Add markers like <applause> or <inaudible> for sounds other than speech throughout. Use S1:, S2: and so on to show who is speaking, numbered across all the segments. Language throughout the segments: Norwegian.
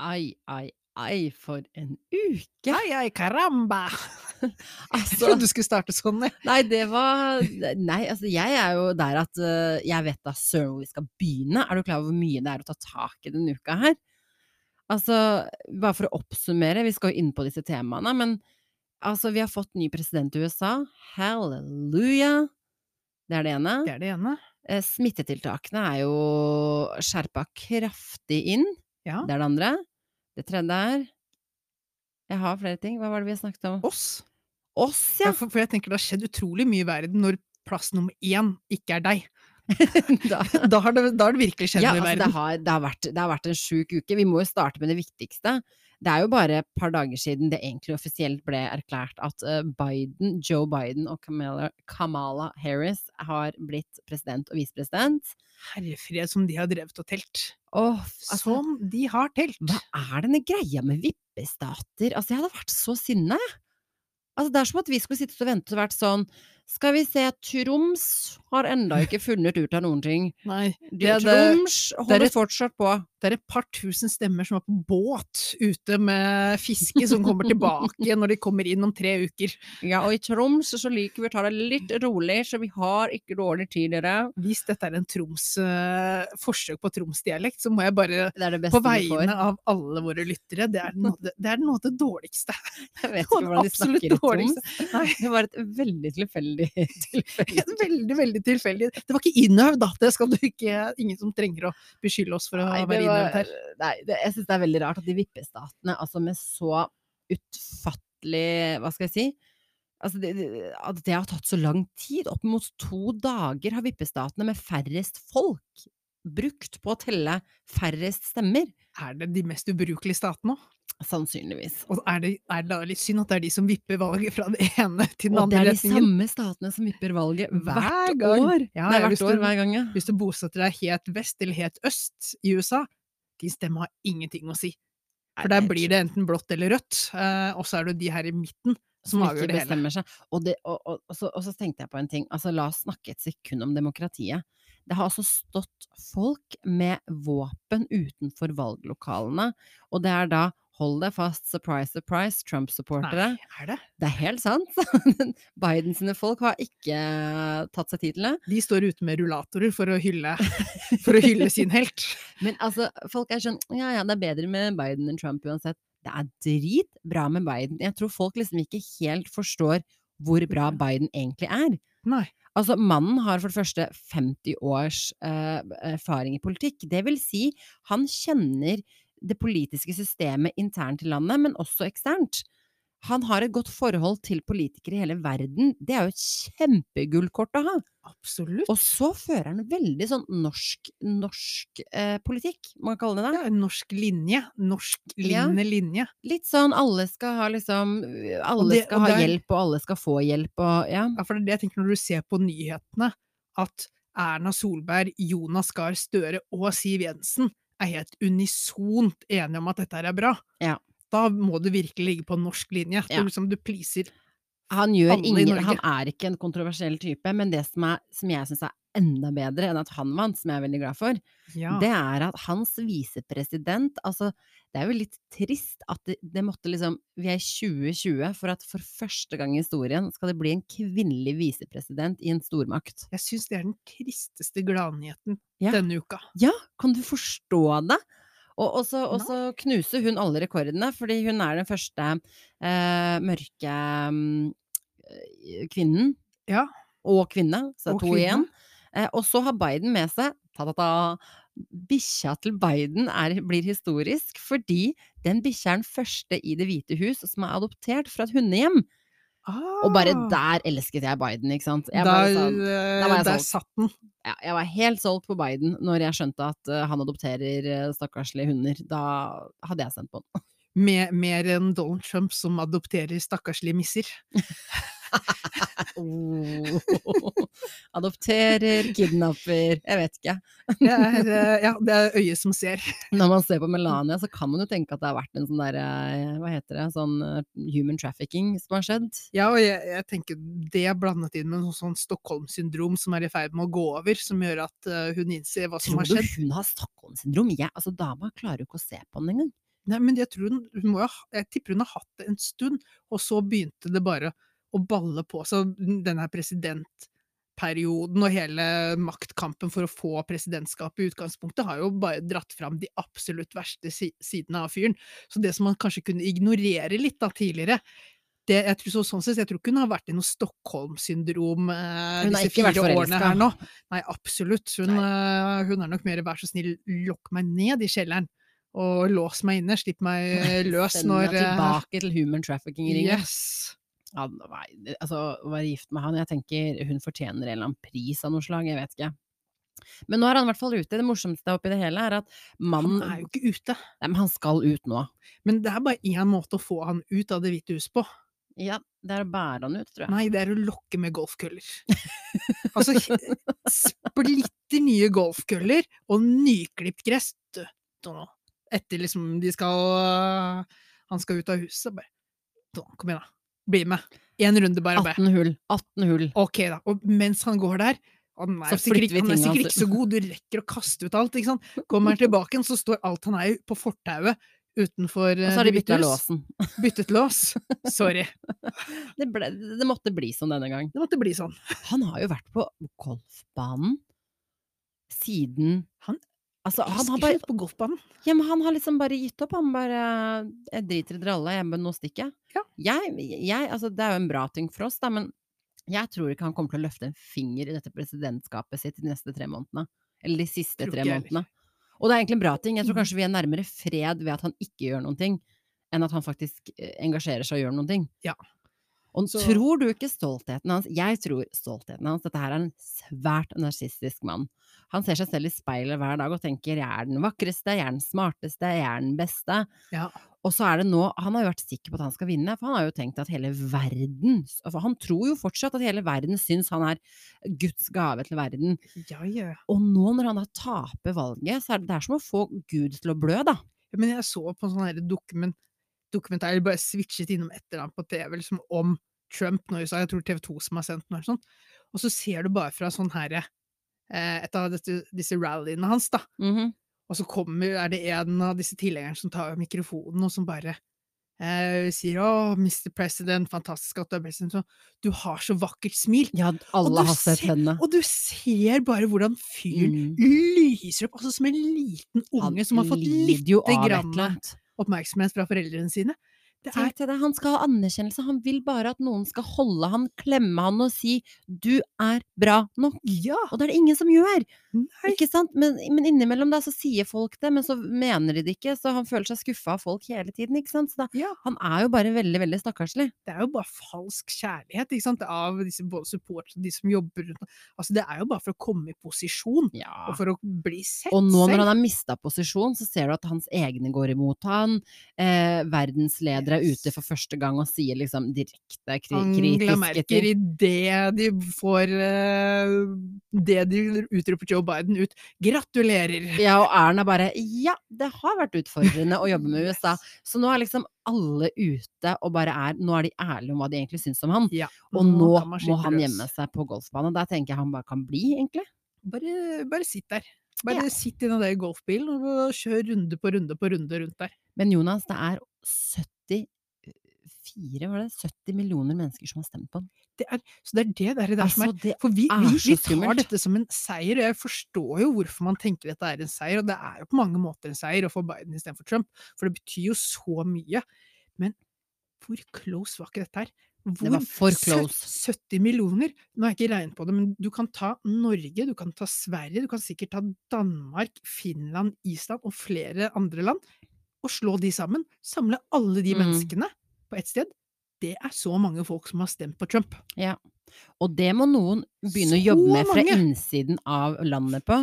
S1: Ai, ai, ai, for en uke!
S2: Ai, ai, <laughs> caramba! Jeg
S1: Altså,
S2: trodde du skulle starte sånn, jeg.
S1: nei, det var Nei, altså, jeg er jo der at øh, jeg vet da søren hvor vi skal begynne. Er du klar over hvor mye det er å ta tak i denne uka her? Altså, bare for å oppsummere, vi skal jo inn på disse temaene, men altså, vi har fått ny president i USA. Halleluja! Det er det ene.
S2: Det er det ene.
S1: Eh, Smittetiltakene er jo skjerpa kraftig inn.
S2: Ja.
S1: Det er det andre. Det tredje er Jeg har flere ting. Hva var det vi snakket om?
S2: Oss.
S1: Oss, <laughs>
S2: Ja,
S1: ja!
S2: for, for jeg tenker det har skjedd utrolig mye i verden når plass nummer én ikke er deg.
S1: <laughs> da.
S2: Da har det, da har det virkelig skjedd
S1: ja
S2: noe i
S1: altså, det,
S2: verden.
S1: har, det, har vært, det har vært en sjuk uke. Vi må jo starte med det viktigste. Det er jo bare et par dager siden det egentlig offisielt ble erklært at eh, Biden, Joe Biden og Kamala, Kamala Harris har blitt president og visepresident.
S2: Herrefred som de har drevet og telt.
S1: Åh, altså,
S2: Som de har telt.
S1: Hva er denne greia med vippestater? Altså, jeg hadde vært så sinna, jeg. Altså, det er som at vi skulle sitte og vente og vært sånn Skal vi se, Troms har enda <laughs> ikke funnet ut av noen ting.
S2: Nei,
S1: Det,
S2: det-
S1: Troms holder
S2: et-
S1: fortsatt på.
S2: det er et par tusen stemmer som er på båt ute med fiske, som kommer <laughs> tilbake når de kommer inn om tre uker.
S1: Ja, og i Troms så liker vi å ta det litt rolig, så vi har ikke dårlig tid, dere.
S2: Hvis dette er en Troms, eh, forsøk på Troms-dialekt, så må jeg bare
S1: Det er det
S2: på
S1: beste vi får.
S2: vegne av alle våre lyttere, det er noe av det, det, er noe av det dårligste.
S1: Jeg vet ikke hvordan
S2: det
S1: de
S2: absolutt
S1: snakker i
S2: dårligste.
S1: Troms.
S2: Nei.
S1: Det var et veldig tilfeldig tilfelle.
S2: <laughs> Veldig, veldig tilfeldig. Det var ikke innøvd, da. Det skal du ikke Ingen som trenger å beskylde oss for å
S1: Nei, det
S2: være
S1: var-
S2: innøvd her.
S1: Nei, det, jeg syns det er veldig rart at de vippestatene, altså med så utfattelig Hva skal jeg si? Altså det, det, at det har tatt så lang tid. Opp mot to dager har vippestatene med færrest folk brukt på å telle færrest stemmer.
S2: Er det de mest ubrukelige statene òg?
S1: Sannsynligvis.
S2: Og er det, er det da litt synd at det er de som vipper valget fra det ene til den
S1: Og det
S2: andre
S1: er de
S2: retningen?
S1: samme statene som vipper valget hvert
S2: Hver gang.
S1: år.
S2: Ja,
S1: Nei,
S2: jeg har lyst
S1: hvert år,
S2: til å-
S1: hver gang, ja.
S2: Hvis du bosetter deg helt vest eller helt øst i USA, din stemme har ingenting å si. For der blir det enten blått eller rødt, eh, og så er det de her i midten
S1: som
S2: som avgjør
S1: ikke
S2: det hele.
S1: bestemmer seg. Og, det, og, og, og, så, og så tenkte jeg på en ting. Altså, la oss snakke et sekund om demokratiet. Det har altså stått folk med våpen utenfor valglokalene, og det er da Hold deg fast, surprise, surprise, Trump-supportere.
S2: Nei, er det?
S1: Det er helt sant! <laughs> Biden sine folk har ikke eh, tatt seg tid til det.
S2: De står ute med rullatorer for å
S1: <laughs>
S2: hylle, for å hylle sin helt.
S1: Men altså, folk er sånn Ja ja, det er bedre med Biden enn Trump uansett. Det er dritbra med Biden. Jeg tror folk liksom ikke helt forstår hvor bra
S2: Ja.
S1: Biden egentlig er.
S2: Nei.
S1: Altså, mannen har for det første 50 års eh, erfaring i politikk. Det vil si, han kjenner det politiske systemet internt i landet, men også eksternt. Han har et godt forhold til politikere i hele verden. Det er jo et kjempegullkort å ha.
S2: Absolutt.
S1: Og så fører han veldig sånn norsk, norsk eh, politikk, må jeg kalle det det.
S2: Ja, en norsk linje. Norsk
S1: Ja.
S2: linje linje.
S1: Litt sånn alle skal ha liksom Alle
S2: det-
S1: skal
S2: og
S1: ha
S2: der-
S1: hjelp, og alle skal få hjelp, og ja.
S2: Ja, for det er det jeg tenker når du ser på nyhetene, at Erna Solberg, Jonas Gahr Støre og Siv Jensen er helt unisont enige om at dette her er bra.
S1: Ja.
S2: Da må du virkelig ligge på norsk linje.
S1: Ja.
S2: Du, liksom, du pleaser
S1: Han gjør
S2: Alle i
S1: ingen
S2: Norge.
S1: Han er ikke en kontroversiell type, men det som, er, som jeg syns er enda bedre enn at han vant, som jeg er veldig glad for,
S2: ja.
S1: det er at hans visepresident Altså, det er jo litt trist at det, det måtte liksom Vi er i 2020 for at for første gang i historien skal det bli en kvinnelig visepresident i en stormakt.
S2: Jeg syns det er den tristeste gladnyheten
S1: Ja.
S2: denne uka.
S1: Ja, kan du forstå det? Og og så og så knuser hun alle rekordene, fordi hun er den første eh, mørke mm, eh, kvinnen.
S2: Ja.
S1: Og kvinne, så det
S2: Og
S1: er to
S2: kvinne.
S1: igjen. Eh, og så har Biden med seg ta-ta-ta. Bikkja til Biden er, blir historisk fordi den bikkja er den første i Det hvite hus som er adoptert fra et hundehjem. Og bare
S2: Ah,
S1: der elsket jeg Biden, ikke sant. Jeg
S2: der,
S1: bare
S2: eh,
S1: sånn, da var jeg
S2: der
S1: solgt.
S2: satt den.
S1: ja, jeg var helt solgt på Biden når jeg skjønte at eh, han adopterer eh, stakkarslige hunder. Da hadde jeg sendt på han.
S2: Med, mer enn Donald Trump som adopterer stakkarslige misser.
S1: Oh. <laughs> Adopterer, kidnapper, jeg vet ikke.
S2: Det er, eh, ja, det er øyet som ser.
S1: Når man ser på Melania, så kan man jo tenke at det har vært en sånn der, eh, hva heter det, sånn eh, human trafficking som har skjedd.
S2: Ja, og jeg, jeg tenker det er blandet inn med noe sånn Stockholm-syndrom som er i ferd med å gå over, som gjør at eh, hun innser hva som
S1: Tror
S2: har
S1: du
S2: skjedd.
S1: hun har Stockholm-syndrom? Jeg, altså, dama klarer jo ikke å se på den engang.
S2: Nei, men jeg, tror hun, hun må jo, ha- jeg tipper hun har hatt det en stund, og så begynte det bare å balle på seg, denne her presidentperioden og hele maktkampen for å få presidentskapet i utgangspunktet, har jo bare dratt fram de absolutt verste si sidene av fyren. Så det som man kanskje kunne ignorere litt da tidligere, det, jeg, tror, så, sånn sett, jeg tror ikke hun har vært i noe Stockholm-syndrom eh,
S1: Hun har
S2: disse
S1: ikke vært
S2: fire årene
S1: forelska.
S2: her nå. Nei, absolutt. Hun, eh, hun er nok mer 'vær så snill, lokk meg ned i kjelleren', og 'lås meg inne', slipp meg eh, løs
S1: Send meg
S2: når eh,
S1: tilbake til human trafficking ringer.
S2: Yes.
S1: Ja, nei, det- altså, å være gift med han, jeg tenker hun fortjener en eller annen pris av noe slag, jeg vet ikke. Men nå er han i hvert fall ute. Det morsomste oppi det hele er at
S2: Han
S1: mannen
S2: er jo ikke ute.
S1: Nei, men han skal ut nå.
S2: Men det er bare én måte å få han ut av Det hvite hus på.
S1: Ja, det er å bære han ut, tror jeg.
S2: Nei, det er å lokke med golfkøller. altså, he- splitter nye golfkøller og nyklipt gress. Du, du nå. Etter liksom de skal øh, Han skal ut av huset, bare du, nå, Kom igjen, da. Bli med. Én runde, bare. bare.
S1: 18 hull. 18 hull.
S2: Ok, da. Og mens han går der han er,
S1: Så
S2: jo
S1: flytter
S2: sikkert,
S1: vi
S2: ikke- han er
S1: tingene hans.
S2: sikkert ikke så god, du rekker å kaste ut alt. ikke
S1: <laughs>
S2: sant? Kommer han tilbake, igjen, så står alt han eier på fortauet utenfor
S1: Og
S2: eh,
S1: så har de
S2: Det hvite
S1: bytta
S2: hus.
S1: låsen.
S2: Byttet
S1: <laughs>
S2: lås. Sorry.
S1: Det, ble, det måtte bli sånn denne gang.
S2: Det måtte bli sånn.
S1: Han har jo vært på golfbanen siden
S2: Han
S1: altså, han,
S2: Husker
S1: har
S2: ikke
S1: bare,
S2: ut på golfbanen.
S1: ja, men han har liksom bare gitt opp. Han bare 'Jeg driter i dralla, jeg, men nå stikker jeg'.
S2: Ja.
S1: Jeg, jeg, altså, det er jo en bra ting for oss, da, men jeg tror ikke han kommer til å løfte en finger i dette presidentskapet sitt de neste tre månedene. Eller de siste
S2: Tror
S1: tre
S2: ikke jeg
S1: månedene. Og det er egentlig en bra ting. Jeg
S2: Mm.
S1: tror kanskje vi er nærmere fred ved at han ikke gjør noen ting, enn at han faktisk eh, engasjerer seg og gjør noen ting.
S2: Ja.
S1: Og
S2: Så-
S1: tror du ikke stoltheten hans Jeg tror stoltheten hans Dette her er en svært narsissistisk mann. Han ser seg selv i speilet hver dag og tenker 'jeg er den vakreste, jeg er den smarteste, jeg er den beste'.
S2: Ja.
S1: Og så er det nå Han har jo vært sikker på at han skal vinne, for han har jo tenkt at hele verden for Han tror jo fortsatt at hele verden syns han er Guds gave til verden.
S2: Ja, ja.
S1: Og nå når han da taper valget, så er det, det er som å få Gud til å blø, da.
S2: Men jeg så på en sånn her dokument, dokumentar, eller bare switchet innom et eller annet på TV, liksom om Trump nå i USA, jeg tror TV 2 som har sendt den, eller sånn. og så ser du bare fra sånn her, eh, et av dette, disse rallyene hans da,
S1: Mhm.
S2: og så kommer, er det en av disse tilhengerne som tar mikrofonen og som bare eh, sier, åh, Mr. President, fantastisk at du er president, så, du har så vakkert smil,
S1: Ja, alle
S2: du
S1: har sett
S2: ser-
S1: henne.
S2: og du ser bare hvordan fyren
S1: Mm.
S2: lyser opp, altså som en liten
S1: Han
S2: unge som har fått
S1: lider jo
S2: lite
S1: av et
S2: grann
S1: eller annet.
S2: oppmerksomhet fra foreldrene sine. Det er
S1: Tenk deg det, han skal ha anerkjennelse. Han vil bare at noen skal holde han, klemme han og si 'du er bra nok'.
S2: Ja!
S1: Og det er det ingen som gjør!
S2: Nei.
S1: Ikke sant? Men, men innimellom da, så sier folk det, men så mener de det ikke. Så han føler seg skuffa av folk hele tiden. ikke sant? Så da,
S2: Ja.
S1: Han er jo bare veldig, veldig stakkarslig.
S2: Det er jo bare falsk kjærlighet ikke sant? av disse både supportere og de som jobber rundt ham. altså, Det er jo bare for å komme i posisjon og for å bli sett
S1: Og nå når
S2: selv.
S1: han har mista posisjon, så ser du at hans egne går imot han. Eh, verdensledere er ute
S2: Yes.
S1: for første gang og sier liksom direkte kri
S2: Angela
S1: kritiske
S2: Merker,
S1: ting.
S2: idet de får eh, det de utroper Joe Biden ut 'gratulerer'!
S1: Ja, og Erna bare Ja, det har vært utfordrende å jobbe med
S2: <laughs>
S1: USA. Så nå er liksom alle ute og bare er Nå er de ærlige om hva de egentlig syns om han.
S2: Ja,
S1: Og nå
S2: kan man
S1: må
S2: slippe
S1: han
S2: løs.
S1: gjemme seg på golfbanen. Der tenker jeg han bare kan bli, egentlig.
S2: Bare, bare sitt der. Bare
S1: Ja.
S2: sitt i den der golfbilen og kjør runde på runde på runde rundt der.
S1: Men Jonas, det er 74, var det? 70 millioner mennesker som har stemt på han.
S2: Det er, så det er det der, det er som er
S1: Altså, det
S2: For vi,
S1: er
S2: vi,
S1: så
S2: vi
S1: skummelt.
S2: tar dette som en seier, og jeg forstår jo hvorfor man tenker dette er en seier, og det er jo på mange måter en seier å få Biden istedenfor Trump, for det betyr jo så mye. Men hvor close var ikke dette her? Hvor
S1: var for
S2: sø-
S1: close.
S2: 70 millioner! Nå har jeg ikke regnet på det, men du kan ta Norge, du kan ta Sverige, du kan sikkert ta Danmark, Finland, Island og flere andre land, og slå de sammen. Samle alle de
S1: Mm.
S2: menneskene på ett sted. Det er så mange folk som har stemt på Trump.
S1: Og det må noen begynne å jobbe
S2: Så
S1: med fra
S2: mange!
S1: innsiden av landet på.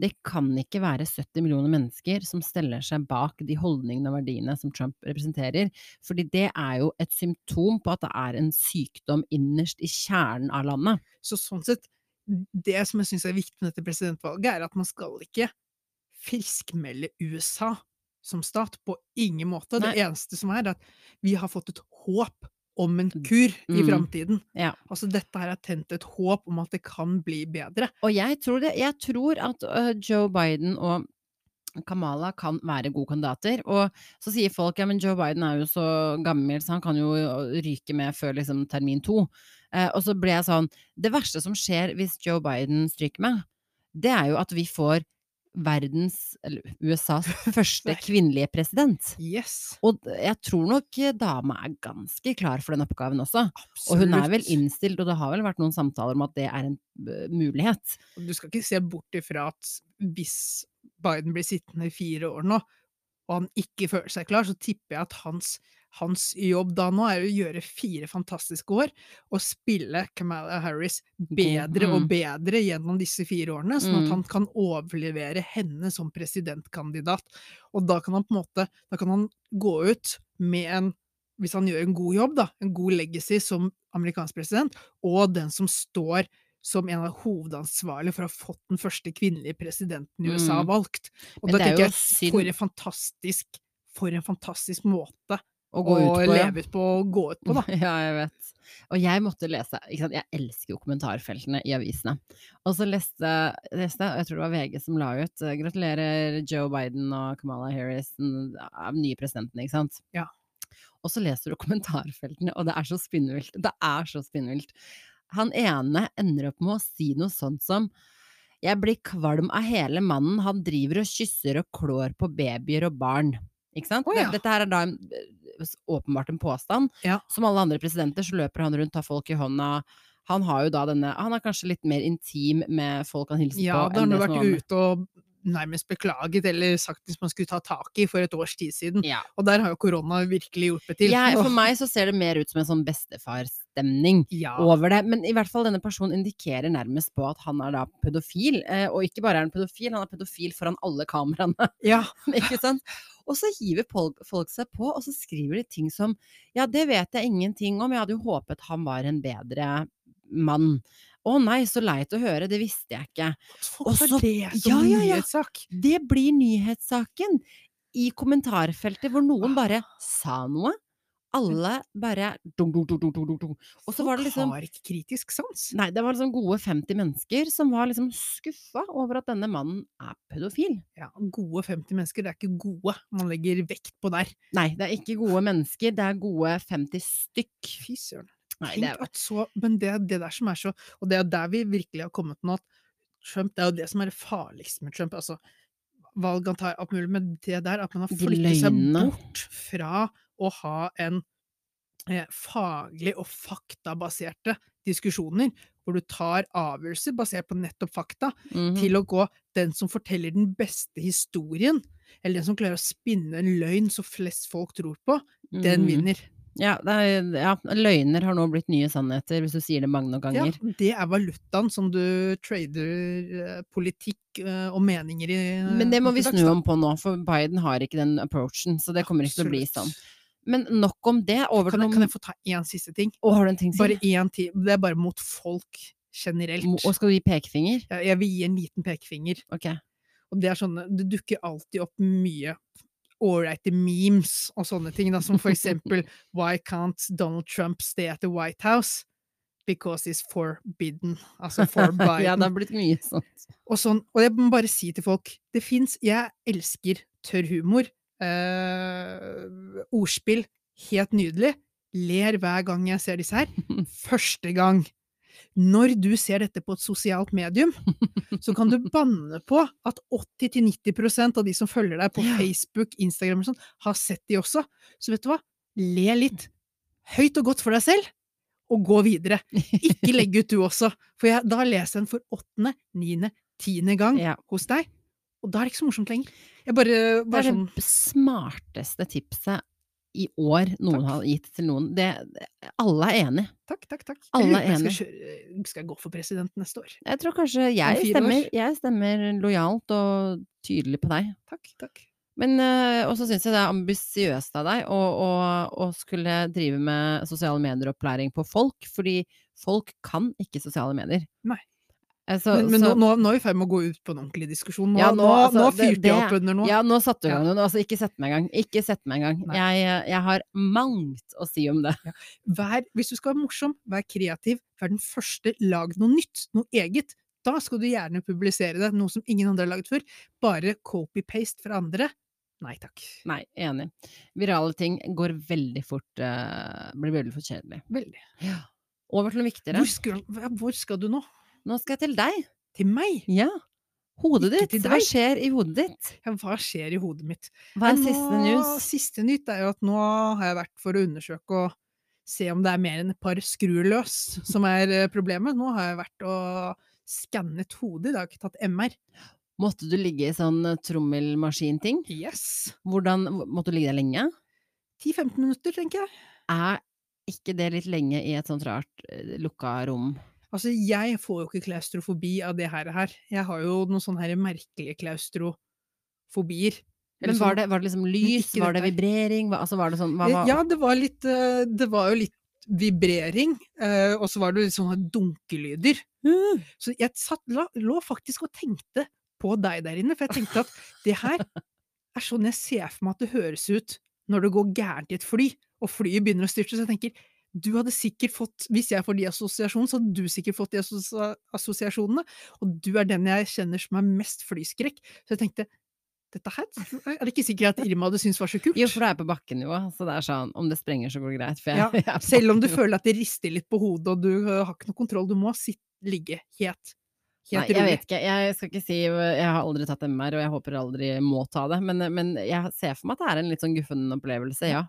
S1: Det kan ikke være 70 millioner mennesker som steller seg bak de holdningene og verdiene som Trump representerer. Fordi det er jo et symptom på at det er en sykdom innerst i kjernen av landet.
S2: Så sånn sett, det som jeg syns er viktig med dette presidentvalget, er at man skal ikke friskmelde USA som stat på ingen måte. Det eneste som er, er at vi har fått et håp om en kur i
S1: Mm.
S2: framtiden.
S1: Ja.
S2: Altså dette her er tent et håp om at det kan bli bedre.
S1: Og jeg tror, det, jeg tror at øh, Joe Biden og Kamala kan være gode kandidater. Og så sier folk ja, men Joe Biden er jo så gammel, så han kan jo ryke med før liksom, termin to. Eh, og så ble jeg sånn Det verste som skjer hvis Joe Biden stryker med, det er jo at vi får verdens, eller USAs første kvinnelige president.
S2: Yes!
S1: Og jeg tror nok eh, dama er ganske klar for den oppgaven også. Og hun er vel
S2: Absolutt.
S1: innstilt, og det har vel vært noen samtaler om at det er en eh, mulighet.
S2: Og Du skal ikke se bort ifra at hvis Biden blir sittende i fire år nå, og han ikke føler seg klar, så tipper jeg at hans, hans jobb da nå er å gjøre fire fantastiske år og spille Kamala Harris bedre og
S1: mm.
S2: bedre gjennom disse fire årene, sånn
S1: Mm.
S2: at han kan overlevere henne som presidentkandidat. Og da kan han på en måte da kan han gå ut med en hvis han gjør en god jobb, da, en god legacy som amerikansk president, og den som står som en av hovedansvarlige for å ha fått den første kvinnelige presidenten i USA
S1: Mm.
S2: valgt. Og
S1: Men
S2: da
S1: det er
S2: tenker
S1: jo
S2: jeg,
S1: synd-
S2: for en fantastisk, for en fantastisk måte
S1: Å
S2: å,
S1: gå ut på, ja.
S2: leve ut på og gå ut på, da.
S1: <laughs> Ja, jeg vet. Og jeg måtte lese ikke sant? Jeg elsker jo kommentarfeltene i avisene. Og så leste leste jeg, og jeg tror det var VG som la ut eh, 'Gratulerer Joe Biden og Kamala Harris, den eh, nye presidenten', ikke sant?
S2: Ja.
S1: Og så leser du kommentarfeltene, og det er så spinnvilt. Det er så spinnvilt. Han ene ender opp med å si noe sånt som jeg blir kvalm av hele mannen, han driver og kysser og klår på babyer og barn. Ikke sant?
S2: Å ja.
S1: Dette her er da en, eh, åpenbart en påstand, som alle andre presidenter så løper han rundt, tar folk i hånda. Han har jo da denne Han er kanskje litt mer intim med folk han hilser
S2: Ja,
S1: på.
S2: da har
S1: enn
S2: han
S1: det som
S2: jo
S1: var
S2: vært
S1: vanlig.
S2: ute og nærmest beklaget, eller sagt hvis man skulle ta tak i, for et års tid siden.
S1: Ja.
S2: Og der har jo korona virkelig hjulpet til.
S1: Jeg,
S2: Og-
S1: for meg så ser det mer ut som en sånn bestefarstemning
S2: ja,
S1: over det. Men i hvert fall denne personen indikerer nærmest på at han er da pedofil. Eh, og ikke bare er han pedofil, han er pedofil foran alle kameraene. <laughs>
S2: ja,
S1: ikke sant? Og så hiver folk, folk seg på, og så skriver de ting som Ja, det vet jeg ingenting om, jeg hadde jo håpet han var en bedre mann. Å nei, så leit å høre, det visste jeg ikke.
S2: og så
S1: Også-
S2: det som
S1: ja, ja, ja.
S2: nyhetssak.
S1: Det blir nyhetssaken i kommentarfeltet, hvor
S2: Ah.
S1: noen bare sa noe.
S2: Mm.
S1: Alle bare dunk, dunk, dunk, dunk, dunk, dunk, dunk. Og så var det liksom
S2: Folk har ikke kritisk sans.
S1: Nei, det var liksom gode 50 mennesker som var liksom skuffa over at denne mannen er pedofil.
S2: Ja, gode 50 mennesker, det er ikke gode man legger vekt på der.
S1: Nei, det er ikke gode mennesker, det er gode 50 stykk.
S2: Fy søren.
S1: Nei, det
S2: Tenk
S1: er,
S2: at så, men det er det der som er så Og det er der vi virkelig har kommet nå, at Trump Det er jo det som er det farligste med Trump. altså Valg han tar, alt mulig, men det der at man har
S1: De
S2: flyttet seg
S1: løgnene.
S2: bort fra å ha en eh, faglig og faktabaserte diskusjoner, hvor du tar avgjørelser basert på nettopp fakta,
S1: Mhm.
S2: til å gå den som forteller den beste historien, eller den som klarer å spinne en løgn så flest folk tror på, den
S1: Mhm.
S2: vinner.
S1: Ja, det er, ja, løgner har nå blitt nye sannheter, hvis du sier det mange nok ganger.
S2: Ja, det er valutaen som du trader eh, politikk eh, og meninger i. eh,
S1: Men det må vi
S2: til dags,
S1: snu
S2: da.
S1: om på nå, for Biden har ikke den approachen, så det kommer ikke til å bli sånn.
S2: Absolutt.
S1: Men nok om det. Over
S2: Kan
S1: til
S2: jeg,
S1: noe-
S2: kan jeg få ta én siste ting?
S1: Å, har du en ting
S2: Bare
S1: til?
S2: én til. Det er bare mot folk generelt.
S1: Mo- Og skal du gi pekefinger?
S2: Jeg, jeg vil gi en liten pekefinger.
S1: Ok.
S2: Og det er sånne Det dukker alltid opp mye ålreite memes og sånne ting, da, som for eksempel Why can't Donald Trump stay at the White House? Because he's forbidden. Altså for Biden.
S1: Ja, det har blitt mye sånt.
S2: Og, sånn, og jeg må bare si til folk det fins Jeg elsker tørr humor. Eh, ordspill. Helt nydelig. Ler hver gang jeg ser disse her. Første gang. Når du ser dette på et sosialt medium, så kan du banne på at 80-90 av de som følger deg på
S1: Ja.
S2: Facebook, Instagram og sånn, har sett de også. Så vet du hva? Le litt. Høyt og godt for deg selv, og gå videre. Ikke legg ut du også, for jeg, da leser jeg den for åttende, niende, tiende gang
S1: Ja.
S2: hos deg, og da er det ikke så morsomt lenger. Jeg bare,
S1: Det
S2: bare
S1: er
S2: sånn
S1: det smarteste tipset i år noen har gitt til noen. Det, det- alle er enig.
S2: Takk, takk, takk. Jeg
S1: Alle
S2: lurer på om
S1: er
S2: Jeg skal, kjøre, eh, skal jeg gå for president neste år?
S1: Jeg tror kanskje jeg
S2: fire år.
S1: stemmer, jeg stemmer lojalt og tydelig på deg.
S2: Takk, takk.
S1: Men eh, også syns jeg det er ambisiøst av deg å, å, å skulle drive med sosiale medier og opplæring på folk, fordi folk kan ikke sosiale medier.
S2: Nei.
S1: Eh, Så,
S2: Men, men
S1: så,
S2: nå, nå, nå er vi i ferd med å gå ut på en ordentlig diskusjon. Nå,
S1: Ja,
S2: nå,
S1: nå,
S2: nå,
S1: altså, det-
S2: fyrte jeg opp
S1: det-
S2: under noe.
S1: Ja, nå satte du i
S2: Ja.
S1: gang noe. Altså, ikke sett meg i gang. Ikke sett meg i gang.
S2: Nei.
S1: Jeg, eh, jeg har mangt å si om det. <laughs>
S2: Vær, hvis du skal være morsom, vær kreativ, vær den første, lag noe nytt, noe eget. Da skal du gjerne publisere det, noe som ingen andre har laget før. Bare copy-paste fra andre. Nei takk.
S1: Nei, enig. Virale ting går veldig fort eh, Blir veldig fort kjedelig.
S2: Veldig.
S1: Over til noe viktigere.
S2: Hvor skal, hva- hvor skal du nå?
S1: Nå skal jeg til deg.
S2: Til meg?
S1: Ja. Hodet
S2: Ikke
S1: ditt.
S2: til
S1: Hva
S2: deg.
S1: skjer i hodet ditt?
S2: Ja, hva skjer i hodet mitt?
S1: Hva er
S2: Men
S1: siste
S2: nå-
S1: news?
S2: Siste nytt er jo at nå har jeg vært for å undersøke og se om det er mer enn et par skruer løs som er eh, problemet. Nå har jeg vært og skannet hodet, i dag, ikke tatt MR.
S1: Måtte du ligge i sånn eh, trommelmaskinting?
S2: Yes!
S1: Hvordan Måtte du ligge der lenge?
S2: 10-15 minutter, tenker jeg.
S1: Er ikke det litt lenge i et sånt rart eh, lukka rom?
S2: Altså, jeg får jo ikke klaustrofobi av det her. her. Jeg har jo noen sånne her merkelige klaustrofobier. Eller
S1: Men
S2: sånn-
S1: var det, var det liksom lys?
S2: ikke
S1: Var det
S2: dette her.
S1: vibrering? Hva, altså var det sånn hva,
S2: Eh,
S1: var-
S2: Ja, det var litt eh, Det var jo litt vibrering, eh, og så var det litt sånne dunkelyder.
S1: Uh.
S2: Så jeg satt, la, lå faktisk og tenkte på deg der inne, for jeg tenkte at det her er sånn jeg ser for meg at det høres ut når det går gærent i et fly, og flyet begynner å styrte. Så jeg tenker, du hadde sikkert fått, hvis jeg får de assosiasjonene, så hadde du sikkert fått de assosia- assosiasjonene, og du er den jeg kjenner som er mest flyskrekk. Så jeg tenkte, dette her er det ikke sikkert at Irma hadde syntes var så kult.
S1: Jo, for du er på bakkenivå, så det er sånn Om det sprenger, så går det greit. For jeg, <laughs>
S2: Ja,
S1: jeg er på
S2: Selv om du
S1: bakkenivå.
S2: føler at det rister litt på hodet, og du øh, har ikke noe kontroll, du må sitt, ligge helt,
S1: Nei,
S2: helt
S1: jeg
S2: rolig.
S1: vet ikke. Jeg skal ikke si Jeg har aldri tatt MR, og jeg håper aldri må ta det. Men, men jeg ser for meg at det er en litt sånn guffen opplevelse, ja.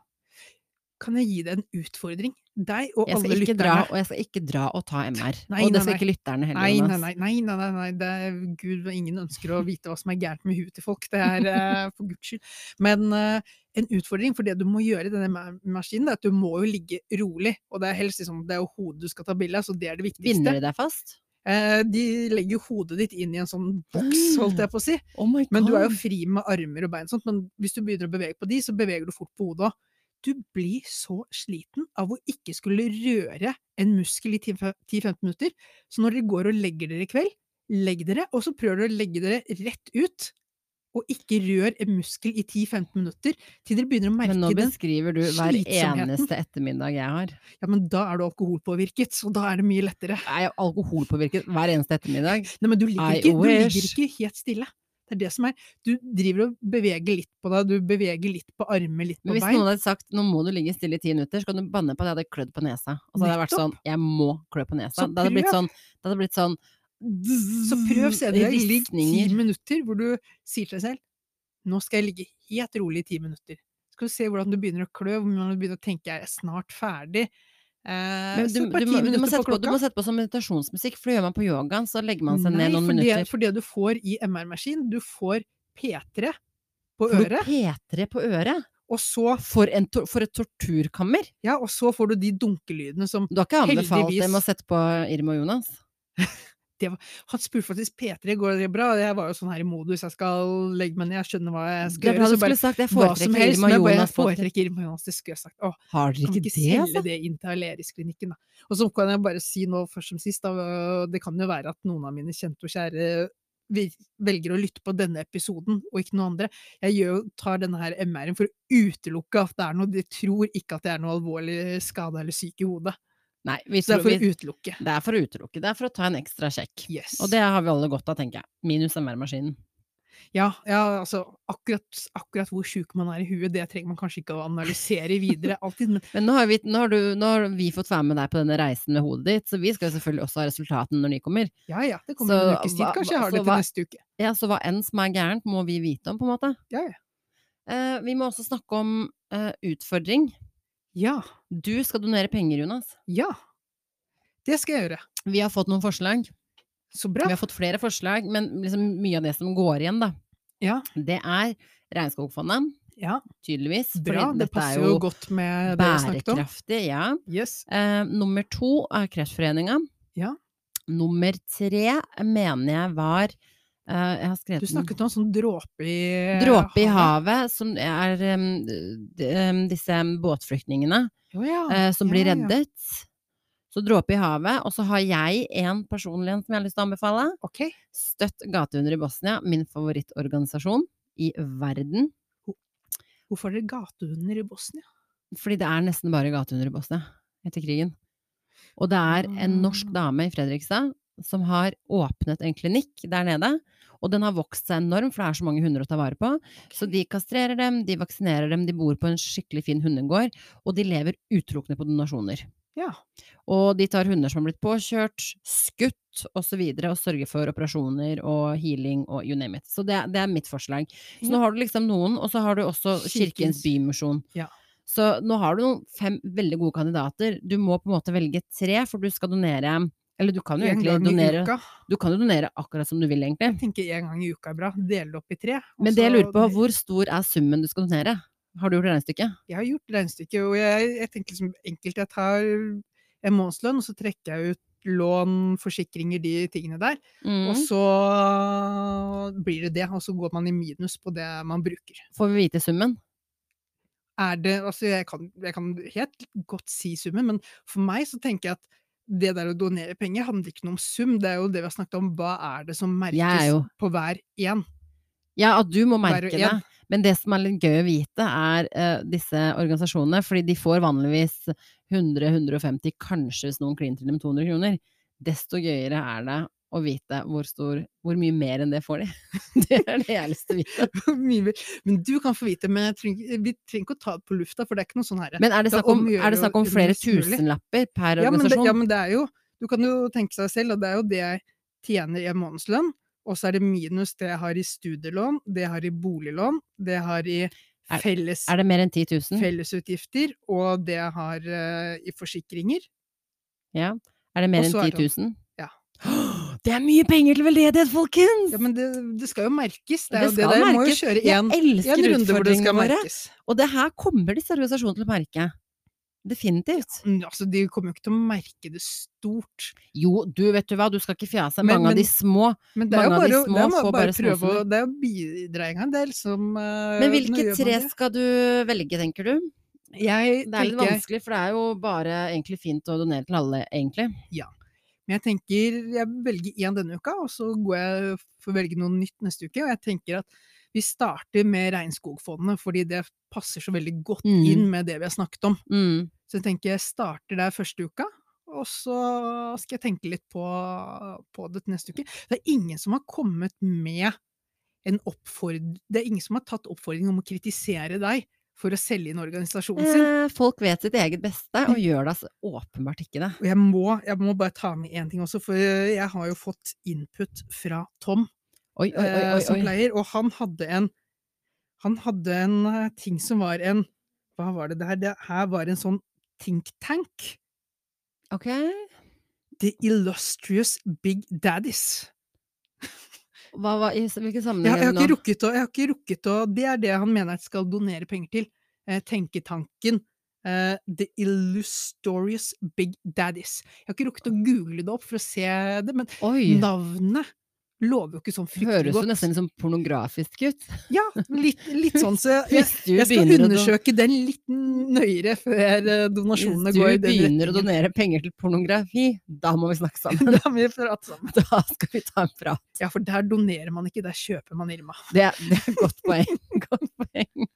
S2: Kan jeg gi deg en utfordring? Deg og
S1: Jeg skal,
S2: alle
S1: ikke dra,
S2: lytterne.
S1: og jeg skal ikke dra og ta MR.
S2: Nei,
S1: og det
S2: nei,
S1: skal ikke lytterne heller.
S2: Nei, nei,
S1: Jonas.
S2: nei, nei, nei, nei, nei. Det er, Gud, ingen ønsker å vite hva som er gærent med huet til folk. Det er eh, for guds skyld. Men eh, en utfordring, for det du må gjøre i denne ma- maskinen, det er at du må jo ligge rolig. Og det er helst liksom, det er jo hodet du skal ta bilde av, så det er det viktigste.
S1: Binder de deg fast?
S2: Eh, de legger jo hodet ditt inn i en sånn boks, holdt jeg på å si.
S1: Oh my
S2: Men du er jo fri med armer og bein, og sånt, men hvis du begynner å bevege på de, så beveger du fort på hodet òg. Du blir så sliten av å ikke skulle røre en muskel i 10-15 minutter, så når dere går og legger dere i kveld, legg dere, og så prøver dere å legge dere rett ut, og ikke rør en muskel i 10-15 minutter, til dere begynner å merke
S1: Men nå
S2: den.
S1: beskriver du hver
S2: slitsomheten.
S1: eneste ettermiddag jeg har.
S2: Ja, men da er du alkoholpåvirket, så da er det mye lettere.
S1: Jeg er jo alkoholpåvirket hver eneste ettermiddag.
S2: Nei, men du ligger,
S1: I
S2: ikke, du ligger
S1: wish.
S2: ikke helt stille. Det er det som er. Du driver og beveger litt på deg, du beveger litt på armer, litt på
S1: Men hvis
S2: bein.
S1: noen hadde sagt nå må du ligge stille i ti minutter, så kan du banne på at jeg hadde klødd på nesa. Og så hadde jeg vært sånn jeg må klø på nesa.
S2: Så
S1: Det hadde blitt
S2: prøv.
S1: sånn, det hadde blitt sånn mm,
S2: Så prøv senere. Ligg ti
S1: Ristninger.
S2: minutter hvor du sier til deg selv nå skal jeg ligge helt rolig i ti minutter. Skal du se hvordan du begynner å klø, hvordan du begynner å tenke jeg er snart ferdig. Eh,
S1: Men du,
S2: så
S1: du,
S2: bare
S1: må, du,
S2: ti
S1: må
S2: minutter
S1: sette på, du
S2: klokka.
S1: må sette på som meditasjonsmusikk, for det gjør man på yogaen. Så legger man seg
S2: Nei,
S1: ned noen
S2: for det,
S1: minutter.
S2: for det du får i MR-maskin, du får P3 på
S1: Får du
S2: øret,
S1: P3 på øret?
S2: og så,
S1: For, en, tor- for et torturkammer!
S2: ja, og så får du de dunkelydene som
S1: Du har ikke anbefalt
S2: Heldigvis.
S1: dem å sette på Irma og Jonas?
S2: Han spurte faktisk P3 går det bra, og jeg var jo sånn her i modus, jeg skal legge meg ned, jeg skjønner hva jeg
S1: Det
S2: skal
S1: er bra du
S2: gjøre. Så bare
S1: skulle sagt jeg
S2: hva som
S1: foretrekker
S2: helst,
S1: Irma
S2: men jeg
S1: og
S2: bare
S1: Jonas.
S2: jeg
S1: på-
S2: foretrekker Irma Jonas, det skulle jeg sagt. Åh,
S1: Har dere
S2: kan
S1: ikke
S2: ikke
S1: det?
S2: selge
S1: altså?
S2: det inn til Alerisklinikken, da. Og så kan jeg bare si nå først som sist, da, det kan jo være at noen av mine kjente og kjære vir- velger å lytte på denne episoden, og ikke noe andre. Jeg gjør, jo- tar denne her MR-en for å utelukke at det er noe, de tror ikke at det er noe alvorlig skade eller syk i hodet.
S1: Nei, vi
S2: Så det
S1: tror,
S2: er for
S1: vi,
S2: å utelukke.
S1: det er for å utelukke. Det er for å ta en ekstra sjekk.
S2: Yes.
S1: Og det har vi alle godt av, tenker jeg. Minus MR-maskinen.
S2: Ja, ja altså akkurat, akkurat hvor sjuk man er i huet, det trenger man kanskje ikke å analysere videre alltid, men
S1: Men nå har, vi, nå, har du, nå har vi fått være med deg på denne reisen med hodet ditt, så vi skal jo selvfølgelig også ha resultatene når de kommer.
S2: ja ja, det kommer en
S1: Så
S2: ukes tid,
S1: hva-
S2: kanskje jeg
S1: så
S2: har det
S1: hva-
S2: til neste uke.
S1: Ja, så hva enn som er gærent, må vi vite om, på en måte.
S2: Ja, ja.
S1: Eh, vi må også snakke om eh, utfordring.
S2: Ja,
S1: Du skal donere penger, Jonas.
S2: ja. Det skal jeg gjøre.
S1: Vi har fått noen forslag.
S2: Så bra.
S1: Vi har fått flere forslag, men liksom mye av det som går igjen, da,
S2: Ja.
S1: det er Regnskogfondet,
S2: Ja,
S1: tydeligvis. fordi
S2: bra. Det
S1: dette er
S2: passer jo godt med det vi har snakket om.
S1: bærekraftig. Ja.
S2: Yes.
S1: Eh, nummer to er Kreftforeninga.
S2: Ja.
S1: Nummer tre mener jeg var eh, Jeg har skrevet
S2: Du
S1: den.
S2: snakket om en sånn dråpe i
S1: Dråpe i havet, som er em, d- em, disse båtflyktningene
S2: Å ja.
S1: eh, som blir
S2: ja, ja.
S1: reddet. Så dråpe i havet. Og så har jeg en personlig en som jeg har lyst til å anbefale.
S2: Ok.
S1: Støtt gatehunder i Bosnia, min favorittorganisasjon i verden.
S2: Hvorfor er det gatehunder i Bosnia?
S1: Fordi det er nesten bare gatehunder i Bosnia etter krigen. Og det er en norsk
S2: Ah.
S1: dame i Fredrikstad som har åpnet en klinikk der nede. Og den har vokst seg enorm, for det er så mange hunder å ta vare på. Så de kastrerer dem, de vaksinerer dem, de bor på en skikkelig fin hundegård, og de lever utelukkende på donasjoner.
S2: Ja.
S1: Og de tar hunder som har blitt påkjørt, skutt osv., og, så videre, og sørger for operasjoner og healing og you name it. Så det, er- det er mitt forslag. Så nå
S2: Ja.
S1: har du liksom noen, og så har du også Kirkens
S2: Kirkens.
S1: Bymisjon.
S2: Ja.
S1: Så nå har du noen fem veldig gode kandidater. Du må på en måte velge tre, for du skal donere Eller du kan jo
S2: En
S1: egentlig
S2: gang i
S1: donere
S2: uka.
S1: Du kan jo donere akkurat som du vil, egentlig.
S2: Jeg tenker en gang i uka er bra. Dele det opp i tre. og
S1: Men det jeg
S2: så-
S1: lurer på, hvor stor er summen du skal donere? Har du gjort regnestykket?
S2: Jeg har gjort regnestykket, og jeg, jeg tenker liksom enkelt Jeg tar en månedslønn, og så trekker jeg ut lån, forsikringer, de tingene der. Og
S1: Mm.
S2: så blir det det, og så går man i minus på det man bruker.
S1: Får vi vite summen?
S2: er det Altså, jeg kan, jeg kan helt godt si summen, men for meg så tenker jeg at det der å donere penger handler ikke noe om sum, det er jo det vi har snakket om. Hva er det som merkes
S1: Jeg er jo
S2: på hver én?
S1: Ja, at du må
S2: Hver
S1: merke
S2: og
S1: det.
S2: en.
S1: Men det som er litt gøy å vite, er eh, disse organisasjonene. Fordi de får vanligvis 100-150, kanskje hvis noen kliner til dem 200 kroner. Desto gøyere er det å vite hvor, stor, hvor mye mer enn det får de. <laughs> Det er det jeg har lyst til å vite.
S2: <laughs> Mye mer. Men du kan få vite, men jeg trenger, vi trenger ikke å ta det på lufta, for det er ikke noe sånn herre.
S1: Men er det
S2: Det er
S1: snakk om,
S2: om å gjøre
S1: er det snakk om
S2: å-
S1: flere
S2: mest mulig.
S1: tusenlapper per
S2: Ja, men det,
S1: organisasjon?
S2: ja, men det er jo Du kan jo tenke seg selv, og det er jo det jeg tjener i en månedslønn, og så er det minus det jeg har i studielån, det jeg har i boliglån, det jeg har i felles
S1: Er det mm. mer enn 10 000?
S2: fellesutgifter, og det jeg har eh, i forsikringer.
S1: Ja. Er det mer
S2: Og
S1: enn
S2: så er
S1: 10
S2: det-
S1: 000?
S2: ja.
S1: <gasps> Det er mye penger til veldedighet, folkens!
S2: Ja, men det, det skal jo merkes. Det,
S1: Det
S2: er jo
S1: skal
S2: det der. Må jo
S1: merkes.
S2: kjøre
S1: Jeg
S2: en, en
S1: elsker
S2: runde hvor det
S1: utfordringene
S2: skal
S1: våre.
S2: merkes.
S1: Og det her kommer disse organisasjonene til å merke. Definitivt.
S2: Mm, Altså, de kommer jo ikke til å merke det stort.
S1: Jo, du vet du hva, du skal ikke fjase. Mange
S2: Men- men-
S1: av de små.
S2: Men det er jo
S1: Mange av de
S2: bare, å- det
S1: små får
S2: er bare,
S1: bare
S2: bare prøve å
S1: småsummer.
S2: Det er jo bidra en gang. Det er liksom eh,
S1: Men
S2: nå
S1: hvilke
S2: gjør man
S1: tre
S2: det.
S1: skal du velge, tenker du?
S2: Jeg
S1: Det er litt
S2: tenker,
S1: vanskelig, for det er jo bare egentlig fint å donere til alle, egentlig.
S2: men jeg tenker jeg velger én denne uka, og så går jeg for å velge noe nytt neste uke. Og jeg tenker at vi starter med regnskogfondene, fordi det passer så veldig godt
S1: Mm.
S2: inn med det vi har snakket om.
S1: Mm.
S2: Så jeg tenker jeg starter der første uka, og så skal jeg tenke litt på, på det til neste uke. Det er ingen som har kommet med en oppfordring Det er ingen som har tatt oppfordringen om å kritisere deg for å selge inn organisasjonen sin.
S1: Eh, folk vet sitt eget beste, og gjør da så åpenbart ikke det.
S2: Og jeg må, jeg må bare ta med én ting også, for eh, jeg har jo fått input fra Tom,
S1: Oi, oi, oi.
S2: eh, som
S1: oi, oi.
S2: pleier, og han hadde en Han hadde en eh, ting som var en Hva var det det her? Det her var en sånn think tank.
S1: Ok.
S2: The Illustrious Big Daddies.
S1: Hva, hva, i, s- hvilken
S2: Jeg,
S1: sammenheng
S2: jeg, har
S1: er det
S2: ikke
S1: nå?
S2: rukket å, jeg har ikke rukket å Det er det han mener at skal donere penger til. Eh, tenketanken. Eh, The Illustrious Big Daddies. Jeg har ikke rukket å google det opp for å se det, men
S1: Oi.
S2: navnet lover jo ikke sånn
S1: Høres jo
S2: fryktelig godt.
S1: nesten litt sånn pornografisk ut.
S2: Ja, litt, litt
S1: <laughs>
S2: sånn, så <laughs> jeg,
S1: Hvis du
S2: jeg skal
S1: begynner å do-
S2: undersøke den litt nøyere før eh, donasjonene
S1: Hvis du
S2: går i den
S1: begynner å
S2: retningen.
S1: donere penger til pornografi, da må vi snakke
S2: <laughs>
S1: sammen.
S2: Da må vi prate sammen.
S1: <laughs> Da skal vi ta en prat.
S2: Ja, for der donerer man ikke, der kjøper man Irma.
S1: Det, det er et godt poeng. <laughs> Godt poeng.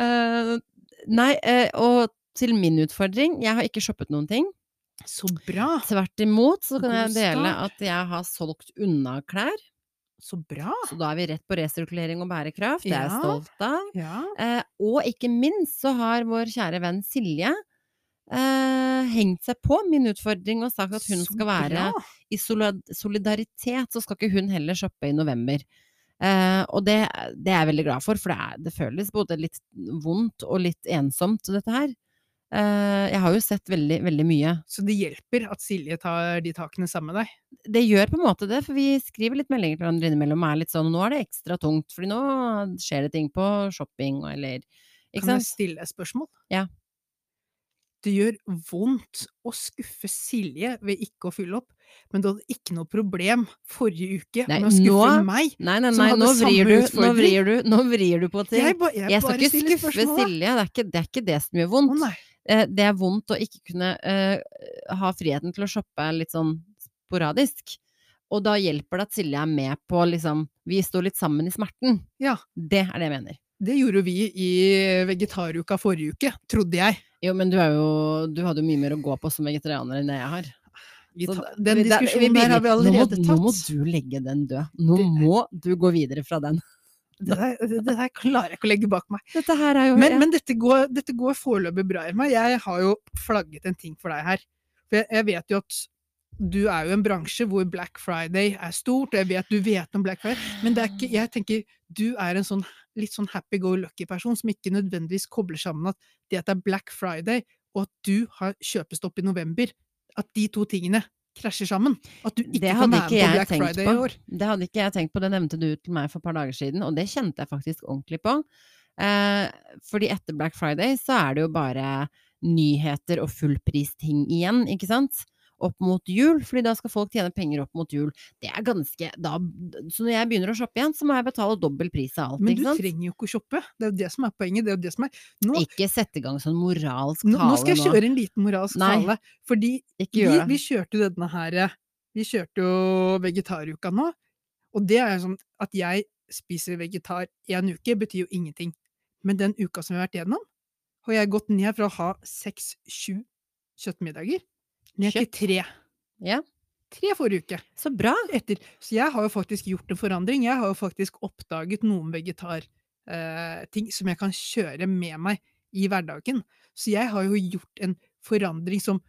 S1: Eh, nei, eh, og til min utfordring, jeg har ikke shoppet noen ting.
S2: Så bra!
S1: Tvert imot så kan jeg
S2: God
S1: dele
S2: start.
S1: at jeg har solgt unna klær,
S2: Så bra!
S1: så da er vi rett på resirkulering og bærekraft, det er jeg
S2: Ja.
S1: stolt av.
S2: Ja.
S1: Eh, og ikke minst så har vår kjære venn Silje eh, hengt seg på min utfordring og sagt at hun
S2: Så
S1: skal være
S2: bra.
S1: i solid- solidaritet, så skal ikke hun heller shoppe i november. Eh, og det, det er jeg veldig glad for, for det, er, det føles både litt vondt og litt ensomt, dette her. Eh, jeg har jo sett veldig, veldig mye.
S2: Så det hjelper at Silje tar de takene sammen med deg.
S1: Det gjør på en måte det, for vi skriver litt meldinger til hverandre innimellom og er litt sånn nå er det ekstra tungt, fordi nå skjer det ting på shopping eller Ikke
S2: Kan
S1: sant?
S2: jeg stille et spørsmål?
S1: Ja.
S2: Det gjør vondt å skuffe Silje ved ikke å fylle opp, men du hadde ikke noe problem forrige uke
S1: Nei,
S2: med å skuffe
S1: nå-
S2: meg.
S1: Nei, nei,
S2: Som
S1: nei,
S2: hadde
S1: nå
S2: samme
S1: vrir, du, nå,
S2: utfordring.
S1: vrir du, nå vrir du på ting.
S2: Jeg,
S1: Jeg,
S2: ba, jeg,
S1: skal
S2: bare
S1: ikke
S2: stiller
S1: skuffe
S2: spørsmålet.
S1: Silje, det er ikke det, er ikke det som gjør
S2: Å
S1: vondt.
S2: nei.
S1: Eh, det er vondt å ikke kunne eh, ha friheten til å shoppe litt sånn sporadisk. Og da hjelper det at Silje er med på liksom Vi står litt sammen i smerten.
S2: Ja,
S1: Det er det jeg mener.
S2: det gjorde vi i vegetaruka forrige uke, trodde jeg.
S1: Jo, men du, er jo, du hadde jo mye mer å gå på som vegetarianer enn det jeg har.
S2: Vi
S1: Så
S2: ta- den
S1: Vi- der- vi
S2: diskusjonen
S1: blir
S2: der har vi
S1: litt- nå må-
S2: allerede
S1: Nå må
S2: tatt.
S1: du legge den død. Nå
S2: Det-
S1: må du gå videre fra den.
S2: Det der, det der klarer jeg ikke å legge bak meg.
S1: Dette her er jo
S2: Men,
S1: ja.
S2: men dette går, dette går foreløpig bra, Irma. Jeg har jo flagget en ting for deg her. For jeg, jeg vet jo at du er jo i en bransje hvor Black Friday er stort, og jeg vet du vet om Black Friday, men det er ikke, jeg tenker du er en sånn litt sånn happy-go-lucky-person som ikke nødvendigvis kobler sammen at det at det er Black Friday, og at du har kjøpestopp i november, at de to tingene krasjer sammen. At du ikke
S1: Det
S2: kan
S1: hadde
S2: være
S1: ikke
S2: med på
S1: jeg
S2: Black
S1: tenkt
S2: Friday
S1: på.
S2: i år.
S1: Det hadde ikke jeg tenkt på, det nevnte du til meg for et par dager siden, og det kjente jeg faktisk ordentlig på. Eh, fordi etter Black Friday så er det jo bare nyheter og fullpristing igjen, ikke sant? Opp mot jul, fordi da skal folk tjene penger opp mot jul. Det er ganske da, Så når jeg begynner å shoppe igjen, så må jeg betale dobbel pris av alt,
S2: Men du
S1: ikke sant?
S2: trenger jo ikke å shoppe. Det er jo det som er poenget. Det er jo det som er. Nå,
S1: Ikke sette i gang sånn moralsk
S2: nå,
S1: tale
S2: nå skal jeg kjøre en liten moralsk
S1: Nei.
S2: tale. Fordi
S1: Ikke
S2: vi,
S1: gjør
S2: vi
S1: det.
S2: kjørte jo denne her eh, Vi kjørte jo vegetaruka nå. Og det er jo sånn at jeg spiser vegetar én uke, betyr jo ingenting. Men den uka som vi har vært gjennom, har jeg gått ned fra å ha seks-sju kjøttmiddager ned til
S1: Kjøtt.
S2: tre.
S1: Ja.
S2: Tre forrige uke.
S1: Så bra!
S2: Etter. Så jeg har jo faktisk gjort en forandring. Jeg har jo faktisk oppdaget noen vegetarting som jeg kan kjøre med meg i hverdagen. Så jeg har jo gjort en forandring som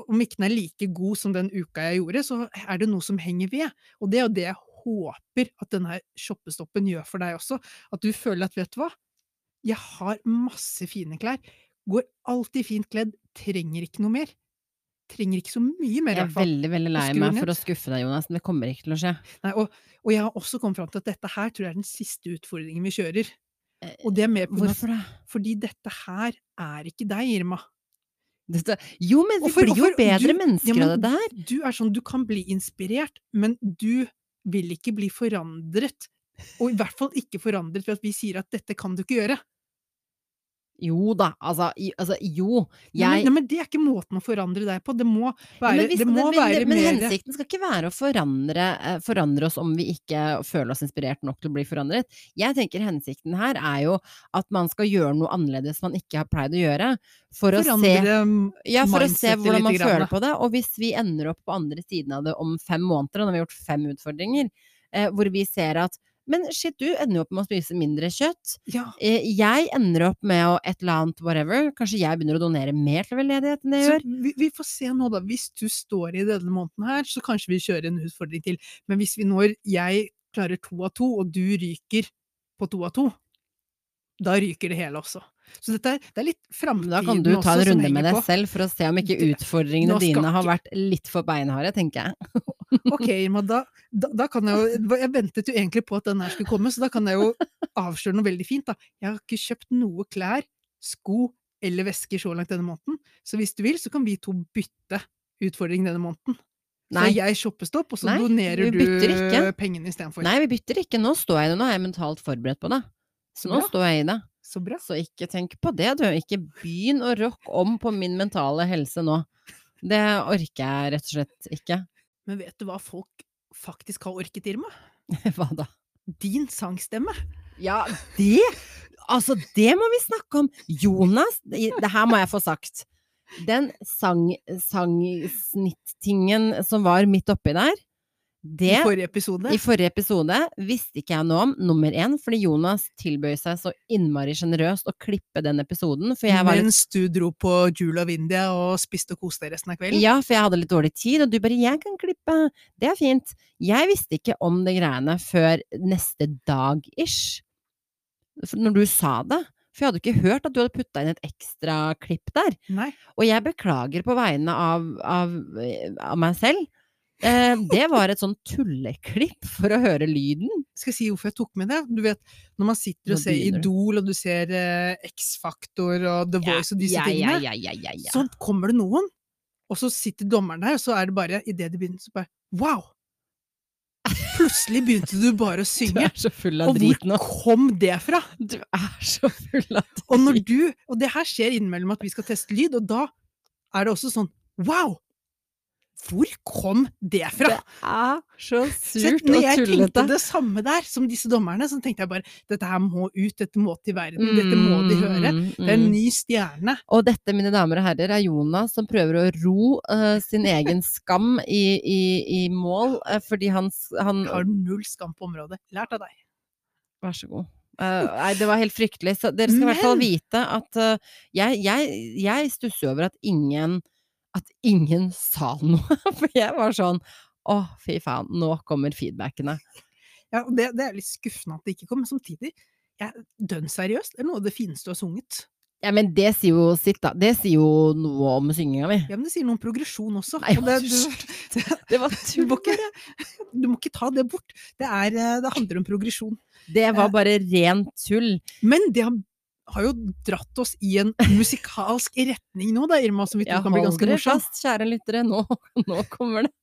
S2: om ikke den er like god som den uka jeg gjorde, så er det noe som henger ved. Og det er jo det jeg håper at denne shoppestoppen gjør for deg også. At du føler at, vet du hva, jeg har masse fine klær. Går alltid fint kledd. Trenger ikke noe mer. Trenger ikke så mye mer,
S1: Jeg
S2: i
S1: er
S2: hvert fall.
S1: veldig, veldig lei
S2: skru
S1: meg
S2: ned.
S1: for å skuffe deg, Jonas. men Det kommer ikke til å skje.
S2: Nei, og, og jeg har også kommet fram til at dette her tror jeg er den siste utfordringen vi kjører. Og det er mer på grunn av-
S1: Eh, Hvorfor det?
S2: fordi dette her er ikke deg, Irma.
S1: Dette, jo, men vi
S2: Hvorfor-
S1: blir jo
S2: hvorfor-
S1: bedre
S2: du-
S1: mennesker
S2: ja,
S1: av
S2: men
S1: dette her.
S2: Du er sånn, du kan bli inspirert, men du vil ikke bli forandret. Og i hvert fall ikke forandret ved at vi sier at dette kan du ikke gjøre.
S1: Jo da, altså, i, altså jo.
S2: Nei, men,
S1: Jeg
S2: nei, men det er ikke måten å forandre deg på. Det må
S1: Ja,
S2: være,
S1: men hvis-
S2: det må
S1: men,
S2: være
S1: det- men
S2: mer
S1: hensikten skal ikke være å forandre, eh, forandre oss om vi ikke føler oss inspirert nok til å bli forandret. Jeg tenker hensikten her er jo at man skal gjøre noe annerledes man ikke har pleid å gjøre. For å se
S2: forandre
S1: ja, for å se
S2: mindsetet
S1: hvordan man
S2: lite grann,
S1: føler
S2: da.
S1: på det. Og hvis vi ender opp på andre siden av det om fem måneder, og når vi har gjort fem utfordringer, eh, hvor vi ser at men shit, du ender jo opp med å spise mindre kjøtt.
S2: ja,
S1: Eh, Jeg ender opp med å et eller annet whatever. Kanskje jeg begynner å donere mer til veldedighet enn det jeg
S2: Så
S1: gjør.
S2: vi, vi får se nå, da. Hvis du står i denne måneden her, så kanskje vi kjører en utfordring til. Men hvis vi når jeg klarer to av to, og du ryker på to av to, da ryker det hele også. Så dette er, det er litt
S1: Men
S2: framtiden
S1: Da
S2: også
S1: kan du ta en
S2: som
S1: runde med
S2: henger
S1: deg
S2: på.
S1: selv for å se om ikke
S2: Du-
S1: utfordringene
S2: nå skal
S1: dine har
S2: ikke-
S1: vært litt for beinharde, tenker jeg.
S2: Ok, Irma, da, da, da kan jeg jo Jeg ventet jo egentlig på at den her skulle komme, så da kan jeg jo avsløre noe veldig fint, da. Jeg har ikke kjøpt noe klær, sko eller vesker så langt denne måneden, så hvis du vil, så kan vi to bytte utfordring denne måneden. Så
S1: Nei.
S2: jeg shoppestopp, og så
S1: Nei,
S2: donerer
S1: vi
S2: du
S1: bytter ikke.
S2: pengene istedenfor.
S1: Nei, vi bytter ikke. Nå står jeg i det. Nå er jeg mentalt forberedt på det.
S2: Så
S1: Nå
S2: bra.
S1: står jeg i det.
S2: Så bra.
S1: Så ikke tenk på det, du. Ikke begynn å rokke om på min mentale helse nå. Det orker jeg rett og slett ikke. <laughs>
S2: Men vet du hva folk faktisk har orket, Irma?
S1: Hva da?
S2: Din sangstemme.
S1: Ja, det Altså, det må vi snakke om! Jonas, det det her må jeg få sagt. Den sang, sangsnitt-tingen som var midt oppi der, det
S2: I forrige episode.
S1: i forrige episode visste ikke jeg noe om, nummer én, fordi Jonas tilbød seg så innmari sjenerøst å klippe den episoden, for jeg var litt
S2: Mens du dro på Jule of India og spiste og koste deg resten av kvelden.
S1: Ja, for jeg hadde litt dårlig tid, og du bare 'jeg kan klippe', det er fint. Jeg visste ikke om de greiene før neste dag-ish, For når du sa det. For jeg hadde ikke hørt at du hadde putta inn et ekstra klipp der.
S2: Nei.
S1: Og jeg beklager på vegne av, av, av meg selv. Eh, det var et sånn tulleklipp for å høre lyden.
S2: Skal jeg si hvorfor jeg tok med det? Du vet, når man sitter og
S1: Nå
S2: ser
S1: begynner du.
S2: Idol, og du ser eh, X-Faktor og The Voice og disse
S1: ja, ja,
S2: tingene,
S1: ja, ja, ja, ja.
S2: så kommer det noen, og så sitter dommeren der, og så er det bare, idet de begynner, så bare wow! Plutselig begynte du bare å
S1: du
S2: synge.
S1: er så full av
S2: Og
S1: drit nå.
S2: hvor kom det fra?
S1: Du er så full av drit.
S2: Og
S1: <laughs>
S2: når du, og det her skjer innimellom at vi skal teste lyd, og da er det også sånn wow! Hvor kom det fra?
S1: er så
S2: Så
S1: surt
S2: når
S1: og
S2: jeg tenkte
S1: tullete.
S2: det samme der som disse dommerne, så tenkte jeg bare dette her må ut, dette må til verden, dette må de høre.
S1: Mm,
S2: Det er en
S1: mm.
S2: ny stjerne.
S1: Og dette, mine damer og herrer, er Jonas som prøver å ro eh,
S2: <laughs>
S1: sin egen skam i, i, i mål, eh, fordi han, s- han
S2: Har null skam på området. Lært av deg.
S1: Vær så god. Eh, nei, det var helt fryktelig. Så dere skal i hvert fall
S2: Men-
S1: vite at eh, jeg, jeg, jeg stusser over at ingen, at ingen sa noe. <laughs> For jeg var sånn Å, fy faen, nå kommer feedbackene.
S2: Ja, og det, det er litt skuffende at det ikke kom, men samtidig, jeg, dønn seriøst, det er noe av det fineste du har sunget.
S1: Ja, men det sier jo sitt, da. Det sier jo noe om synginga mi.
S2: Ja, men det sier noe om progresjon også.
S1: Nei,
S2: og det, du,
S1: unnskyld.
S2: <laughs>
S1: Det var
S2: du, må
S1: tull.
S2: ikke, du må ikke ta det bort. Det, er, eh, det handler om progresjon.
S1: Det var bare rent tull.
S2: Men det har, har jo dratt oss i en
S1: <laughs>
S2: musikalsk retning nå, da, Irma, som vi
S1: Ja,
S2: tror kan bli
S1: hold
S2: ganske
S1: dere
S2: morsom.
S1: fast, kjære lyttere. Nå, <laughs> nå kommer det.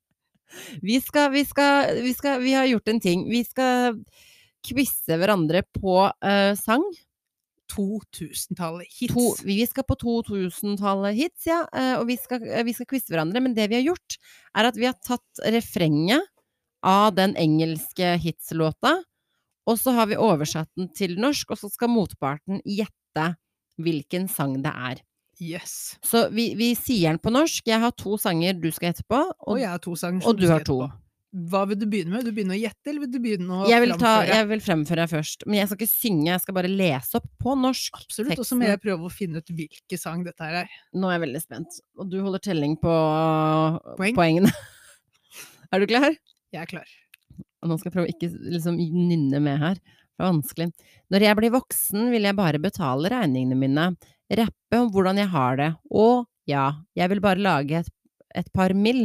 S1: Vi skal, vi skal, vi skal Vi har gjort en ting. Vi skal quize hverandre på eh, sang.
S2: 2000-tallet hits.
S1: To, vi skal på 2000-tallet hits, ja. eh, og vi skal, eh, vi skal quize hverandre. Men det vi har gjort, er at vi har tatt refrenget av den engelske hitslåta, og så har vi oversatt den til norsk, og så skal motparten gjette hvilken sang det er.
S2: Yes.
S1: Så vi, vi sier den på norsk. Jeg har to sanger du skal gjette på.
S2: Og,
S1: Og
S2: jeg har to sanger.
S1: og
S2: som
S1: du har
S2: skal gjette på. Hva vil du begynne med? Vil du begynne å gjette, eller vil du begynne å
S1: jeg, vil ta,
S2: framføre?
S1: jeg vil fremføre deg først. Men jeg skal ikke synge, jeg skal bare lese opp på norsk.
S2: Absolutt. Og så må jeg prøve å finne ut hvilken sang dette her er.
S1: Nå er jeg veldig spent. Og du holder telling på
S2: Poeng.
S1: poengene. <laughs> Er du klar?
S2: Jeg er klar.
S1: Og nå skal jeg prøve å ikke liksom nynne med her. Det er vanskelig. Når jeg blir voksen, vil jeg bare betale regningene mine, rappe om hvordan jeg har det, og ja, jeg vil bare lage et, et par mill,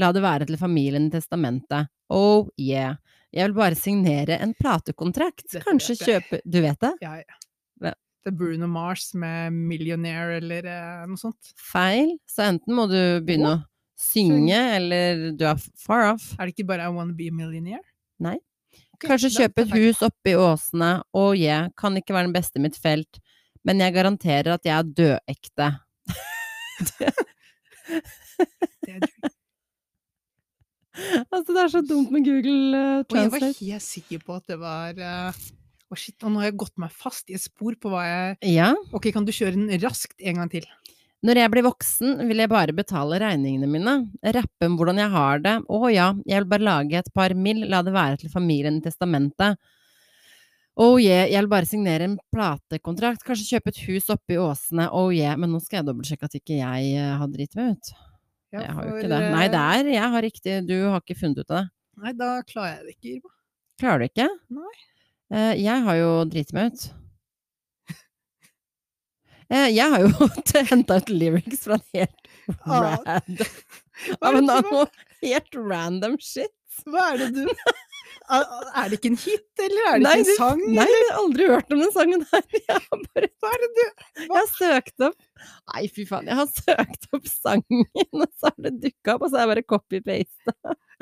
S1: la det være til familien i testamentet, oh yeah. Jeg vil bare signere en platekontrakt,
S2: Dette
S1: kanskje
S2: vet jeg.
S1: kjøpe Du vet det?
S2: Ja, ja.
S1: Ja.
S2: Det er Bruno Mars med 'Millionaire' eller eh, noe sånt.
S1: Feil, så enten må du begynne å synge, eller du er far off.
S2: Er det ikke bare 'I Wanna Be a Millionaire'?
S1: Nei.
S2: Ok,
S1: Kanskje
S2: da-
S1: kjøpe
S2: da
S1: et
S2: tar jeg-
S1: hus oppe i Åsene. Å yeah, kan ikke være den beste i mitt felt, men jeg garanterer at jeg er dødekte.
S2: Det er Drake.
S1: <laughs> Altså, det er så dumt med Google eh,
S2: Og jeg var
S1: Translate.
S2: helt sikker på at det var eh, Å, shit. Og nå har jeg gått meg fast i et spor på hva jeg
S1: Ja.
S2: Ok, kan du kjøre den raskt en gang til?
S1: Når jeg blir voksen, vil jeg bare betale regningene mine, rappe om hvordan jeg har det, å ja, jeg vil bare lage et par mill, la det være til familien i testamentet. Oh yeah, jeg vil bare signere en platekontrakt, kanskje kjøpe et hus oppe i Åsene, oh yeah, men nå skal jeg dobbeltsjekke at ikke jeg eh, har dritt meg ut. jeg har jo
S2: for,
S1: ikke det. Nei,
S2: eh,
S1: det er jeg har riktig, du har ikke funnet ut av det.
S2: Nei, da klarer jeg det ikke, Irma.
S1: Klarer du ikke?
S2: Nei.
S1: Eh, jeg har jo driti meg ut. <laughs> Eh, jeg har jo <laughs> henta ut lyrics fra en helt
S2: Ah,
S1: random
S2: Hva
S1: Av
S2: er
S1: en
S2: det,
S1: annen helt random shit.
S2: hva er det du
S1: <laughs>
S2: Er er det ikke en hit, eller er det
S1: Nei,
S2: ikke
S1: du-
S2: en sang?
S1: Nei, jeg har aldri hørt om den sangen her. <laughs> Jeg har bare
S2: Hva er det du
S1: Jeg har søkt opp Nei, fy faen. Jeg har søkt opp sangen, <laughs> og så har det dukka opp, og så har jeg bare copy-paste.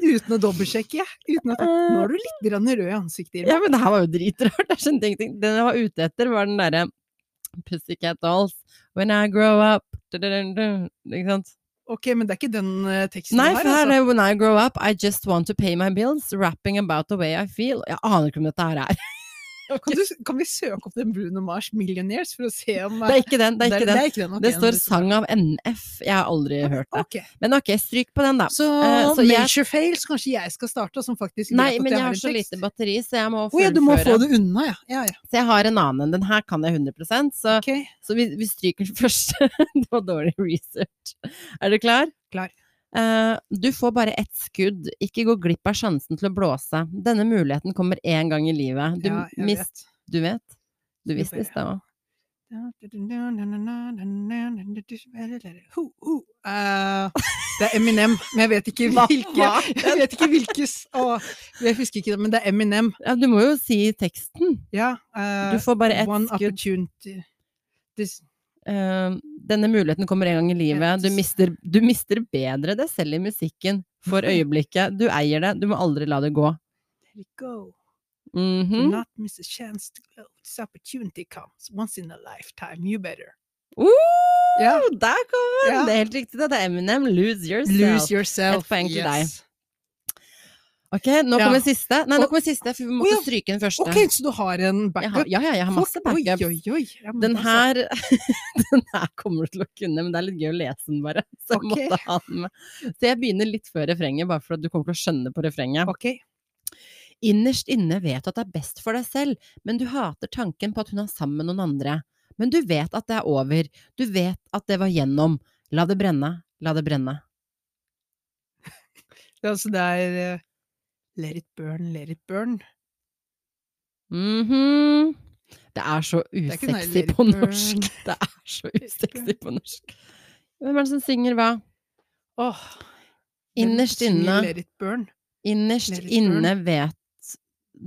S2: Uten å dobbeltsjekke, uten at Nå er du litt grann rød i ansiktet, Irma.
S1: Eh. Ja, men det her var jo dritrart. Jeg skjønte ingenting. Den jeg var ute etter, var den derre Pussycat Dolls. When I grow up da-da-da-da, Ikke sant?
S2: Ok, men det er ikke den eh, teksten
S1: Nei,
S2: du
S1: for
S2: har,
S1: her
S2: altså.
S1: er det When I grow up, I just want to pay my bills. Rapping about the way I feel. Jeg aner ikke om dette her er <laughs>
S2: Kan, du, kan vi søke opp den Bruno Mars Millionaires for å se om eh,
S1: Det er ikke den. Det er ikke den.
S2: ikke den. ok,
S1: Det
S2: nå
S1: står
S2: vet jeg.
S1: sang av NF. Jeg har aldri hørt det.
S2: Ok,
S1: Men ok, stryk på den, da.
S2: så,
S1: Eh, så jeg-
S2: major fails, kanskje jeg skal starte, som faktisk
S1: Nei,
S2: vet at
S1: men
S2: jeg,
S1: jeg har
S2: en
S1: så
S2: tekst.
S1: lite batteri, så jeg må
S2: Å ja, du må få
S1: fullføre.
S2: det unna, ja. ja, ja.
S1: Så jeg har en annen enn den her, kan jeg 100 så,
S2: Ok,
S1: så vi, vi stryker den <laughs> første. Det var dårlig research. Er du klar?
S2: Klar.
S1: Eh, du får bare ett skudd, ikke gå glipp av sjansen til å blåse. Denne muligheten kommer én gang i livet. Du,
S2: ja, jeg
S1: mis,
S2: vet.
S1: du vet? Du
S2: Jo,
S1: visste i
S2: ja. <laughs>
S1: stad òg.
S2: Ho, ho. Eh, det er Eminem, men jeg vet ikke hvilke Jeg vet ikke hvilkes å, Jeg husker ikke det, men det er Eminem.
S1: Ja, du må jo si teksten.
S2: Ja. eh,
S1: Du får bare ett
S2: One
S1: skudd.
S2: opportunity. This,
S1: Eh, denne muligheten kommer en gang i livet. Du
S2: Yes.
S1: mister, du mister bedre deg selv i musikken
S2: Mhm.
S1: for øyeblikket. Du eier det, du må aldri la det gå.
S2: there you go. Do
S1: Mhm.
S2: not miss a chance to go. This opportunity comes once in a lifetime. You better.
S1: Uh!
S2: Ja.
S1: Der kommer den!
S2: Ja.
S1: Det er helt riktig. Det er Eminem, 'Lose Yourself'.
S2: Lose yourself.
S1: Et poeng til Ok, Nå
S2: Ja.
S1: kommer siste. Nei, nå
S2: Og-
S1: kommer siste, for vi må
S2: Å,
S1: ikke
S2: ja.
S1: stryke den første.
S2: Ok, så du har en
S1: Jeg
S2: backup?
S1: har, ja, ja, jeg har masse
S2: Fuck,
S1: backup.
S2: Oi, oi, oi. Ja, men
S1: Den
S2: altså.
S1: her, <laughs> den her kommer du til å kunne, men det er litt gøy å lese den bare. <laughs> Så jeg
S2: Ok.
S1: måtte ha den med. Så jeg begynner litt før refrenget, bare for at du kommer til å skjønne på refrenget.
S2: Ok.
S1: Innerst inne vet du at det er best for deg selv, men du hater tanken på at hun er sammen med noen andre. Men du vet at det er over, du vet at det var gjennom. La det brenne, la det brenne.
S2: Det er altså det er eh, Let it burn, let it burn.
S1: Mhm. Det er så
S2: er ikke den der
S1: usexy
S2: Lady
S1: på
S2: Bird.
S1: <laughs> norsk. Det er så usexy på norsk. Hvem er det som synger hva?
S2: Åh, den
S1: Innerst
S2: synger
S1: inne.
S2: Let it burn.
S1: Innerst
S2: Let it burn.
S1: inne vet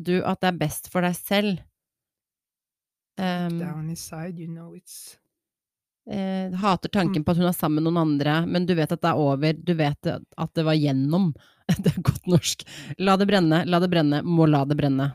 S1: du at det er best for deg selv. Ehm,
S2: Down inside, you know it's
S1: eh, hater tanken på at hun er sammen med noen andre, men du vet at det er over. Du vet at at det var gjennom. <laughs> Det er godt norsk. La det brenne, la det brenne, må la det brenne.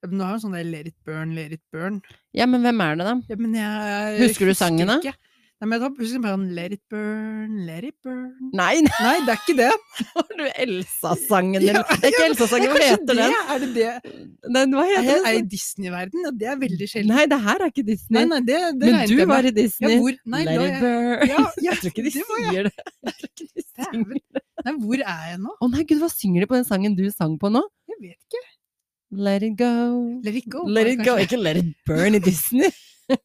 S2: Ja, men Nå har jeg en sånn der let it burn, let it burn.
S1: Ja, men hvem er det, da?
S2: Ja, men jeg
S1: Husker du sangen, da?
S2: ikke. Nei, men jeg tar- husker bare sånn let it burn, let it burn.
S1: Nei, <laughs> nei,
S2: Nei, det er ikke det.
S1: har du Elsa-sangen din?
S2: <laughs> Ja,
S1: det er ikke Elsa-sangen, hva
S2: Kanskje
S1: heter
S2: det?
S1: den?
S2: Er det det?
S1: den? Hva
S2: Er
S1: heter
S2: jeg i
S1: den? sånn?
S2: Disney-verden? Ja, det er veldig sjelden.
S1: Nei, det her er ikke Disney.
S2: Nei, nei, det, det
S1: men
S2: regnet
S1: du
S2: jeg med.
S1: var i Disney.
S2: Ja, hvor, nei,
S1: Let
S2: nå
S1: it
S2: er jeg-
S1: burn.
S2: Ja, ja,
S1: jeg tror
S2: <laughs>
S1: ikke de
S2: det var jeg.
S1: sier det. <laughs> Jeg tror ikke de synger
S2: Dæven. Nei, hvor er jeg nå?
S1: Å nei, gud, hva synger de på den sangen du sang på nå?
S2: Jeg vet ikke.
S1: Let it go.
S2: Let it go. var
S1: Let
S2: det
S1: it go.
S2: kanskje.
S1: Ikke let it burn i Disney. <laughs>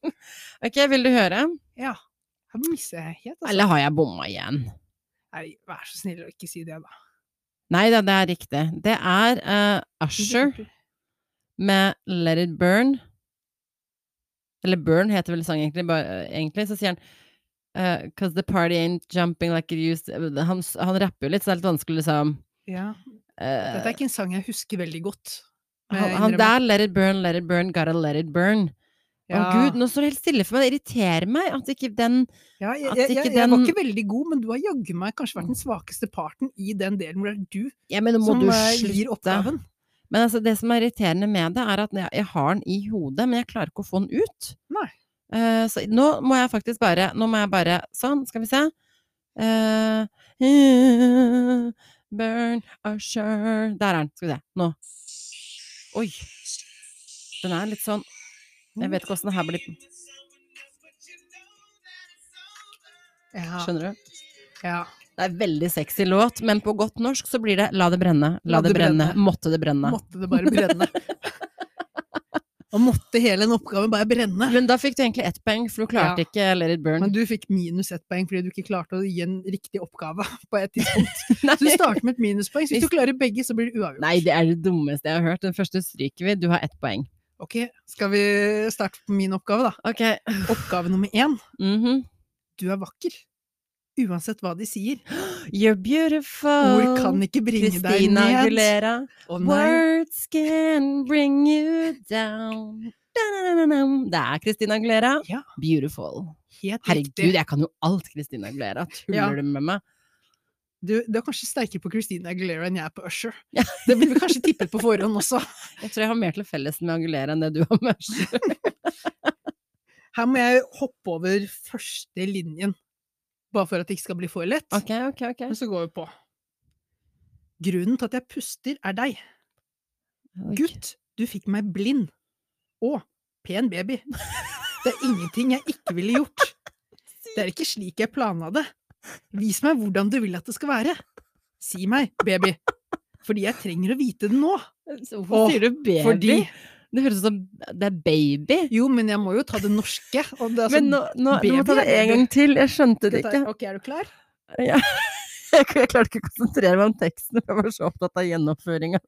S1: ok, vil du høre?
S2: Ja. Her mister jeg helt, altså.
S1: Eller har jeg bomma igjen?
S2: Nei, vær så snill å ikke si det, da.
S1: Nei da, det er riktig. Det er eh, Usher med Let it burn. Eller Burn heter vel sangen egentlig, bare, egentlig. Så sier han eh, Cause the party ain't jumping like it used to Han, han rapper jo litt, så det er litt vanskelig, liksom.
S2: Ja.
S1: eh,
S2: Dette er ikke en sang jeg husker veldig godt. må
S1: han,
S2: jeg
S1: han
S2: innrømme.
S1: der, let it burn, let it burn, gotta let it burn. Å
S2: Ja.
S1: gud, nå står det helt stille for meg. Det irriterer meg at ikke den
S2: Ja, jeg,
S1: at
S2: jeg,
S1: ikke
S2: jeg, jeg var
S1: den-
S2: ikke veldig god, men du har jaggu meg kanskje vært den svakeste parten i den delen hvor det er du
S1: Ja, men nå må
S2: som
S1: du
S2: eh, gir
S1: slutte.
S2: oppgaven.
S1: Men altså, det som er irriterende med det, er at jeg, jeg har den i hodet, men jeg klarer ikke å få den ut.
S2: Nei.
S1: Eh, så nå må jeg faktisk bare Nå må jeg bare Sånn, skal vi se. Eh, burn Usher Der er den. Skal vi se. Nå. Oi. Den er litt sånn Jeg vet ikke åssen det her blir
S2: Ja,
S1: Skjønner du?
S2: ja.
S1: Det er veldig sexy låt, men på godt norsk så blir det 'la det brenne', 'la, det, brenne', 'måtte det brenne'.
S2: Måtte det bare
S1: <laughs>
S2: brenne. Og måtte hele den oppgaven bare brenne.
S1: Men da fikk du egentlig ett poeng, for du klarte
S2: Ja.
S1: ikke Let it burn.
S2: Men du fikk minus ett poeng fordi du ikke klarte å gi en riktig oppgave <laughs> på et tidspunkt.
S1: <laughs> Nei.
S2: Så du starter med et minuspoeng. Så hvis du klarer begge, så blir det uavgjort.
S1: Nei, det er det dummeste jeg har hørt. Den første stryker vi. Du har ett poeng.
S2: Ok, skal vi starte på min oppgave, da?
S1: Ok.
S2: Oppgave nummer én.
S1: Mhm.
S2: Du er vakker. Uansett hva de sier.
S1: You're beautiful.
S2: Ord kan ikke bringe
S1: Christina
S2: deg ned.
S1: Aguilera.
S2: Å nei.
S1: Words can bring you down. Da-da-da-da-dam. Det er Christina Aguilera.
S2: Ja.
S1: Beautiful.
S2: Helt
S1: Herregud,
S2: riktig.
S1: jeg kan jo alt Christina Aguilera. Tuller
S2: Ja.
S1: du med meg?
S2: Du, du er kanskje sterkere på Christina Aguilera enn jeg er på Usher.
S1: Ja.
S2: Det blir vi kanskje tippet på forhånd også.
S1: Jeg tror jeg har mer til felles med Aguilera enn det du har med Usher.
S2: Her må jeg hoppe over første linjen, bare for at det ikke skal bli for lett.
S1: Ok, ok, ok.
S2: Men så går vi på. Grunnen til at jeg puster, er deg.
S1: Oi.
S2: Gutt, du fikk meg blind. Og pen baby. Det er ingenting jeg ikke ville gjort. Det er ikke slik jeg planla det. Vis meg hvordan du vil at det skal være. Si meg, baby. Fordi jeg trenger å vite det nå.
S1: Så Hvorfor
S2: Åh,
S1: sier du baby?
S2: Fordi
S1: Det høres ut som det er baby.
S2: Jo, men jeg må jo ta det norske. Og det er
S1: Men
S2: sånn-
S1: nå, nå, nå må jeg ta
S2: baby
S1: det
S2: er
S1: en
S2: baby.
S1: gang til. Jeg skjønte det
S2: Skal
S1: ikke.
S2: jeg ta- Ok, er du klar?
S1: Ja. <laughs> Jeg, jeg klarte ikke å konsentrere meg om teksten, for jeg var så opptatt av gjennomføringa.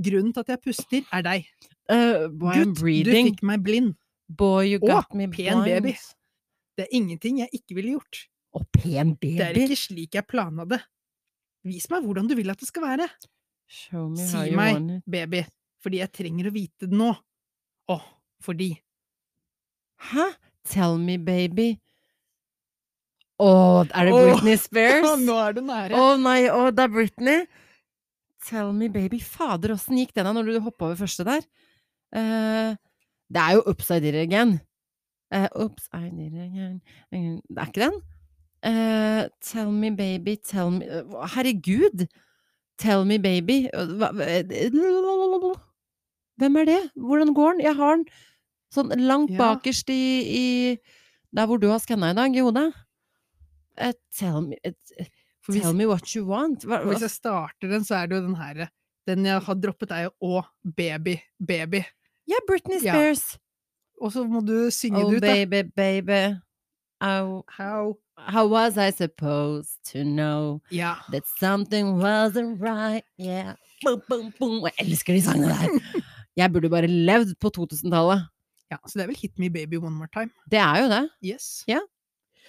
S2: Grunnen til at jeg puster, er deg. Eh,
S1: Uh, boy, I'm
S2: Gutt, du
S1: breathing.
S2: fikk meg blind.
S1: Boy, you
S2: Å,
S1: got me
S2: pen
S1: blind.
S2: baby. Det er ingenting jeg ikke ville gjort.
S1: Å, pen baby.
S2: Det er ikke slik jeg planla det. Vis meg hvordan du vil at det skal være.
S1: Show me
S2: Si
S1: how you
S2: meg.
S1: want it.
S2: baby, fordi jeg trenger å vite det nå. Å, fordi. <laughs>
S1: Hæ? Tell me, baby. Å, er det
S2: Åh,
S1: Britney
S2: <laughs>
S1: Spears? Å
S2: er du nære.
S1: nei, å, det er Britney. Tell me, baby. Fader, åssen gikk den da når du hoppa over første der? Eh, det er jo upside down again. Eh, Oops, I need a hand. Mm, Det er ikke den. Eh, tell me, baby, tell me eh, hva- Herregud! Tell me, baby. eh, hva- hva- Hvem er det? Hvordan går den? Jeg har den sånn langt
S2: Ja.
S1: bakerst i, i Der hvor du har skanna i dag, i hodet. Eh, tell me eh,
S2: For hvis,
S1: Tell me what you want. Hva,
S2: for hvis jeg starter den, så er det jo den her Den jeg har droppet, er jo Å, baby, baby.
S1: ja, Britney
S2: Ja.
S1: Spears.
S2: Og så må du synge
S1: Oh,
S2: det ut, da.
S1: baby, baby. How,
S2: How?
S1: how was I supposed to know
S2: Ja.
S1: that something wasn't right? Yeah. Boom, boom, boom. Jeg elsker de sangene
S2: <laughs>
S1: der. Jeg burde bare levd på 2000-tallet.
S2: ja. Så det er vel Hit Me Baby One More Time.
S1: Det er jo det.
S2: Yes.
S1: Ja.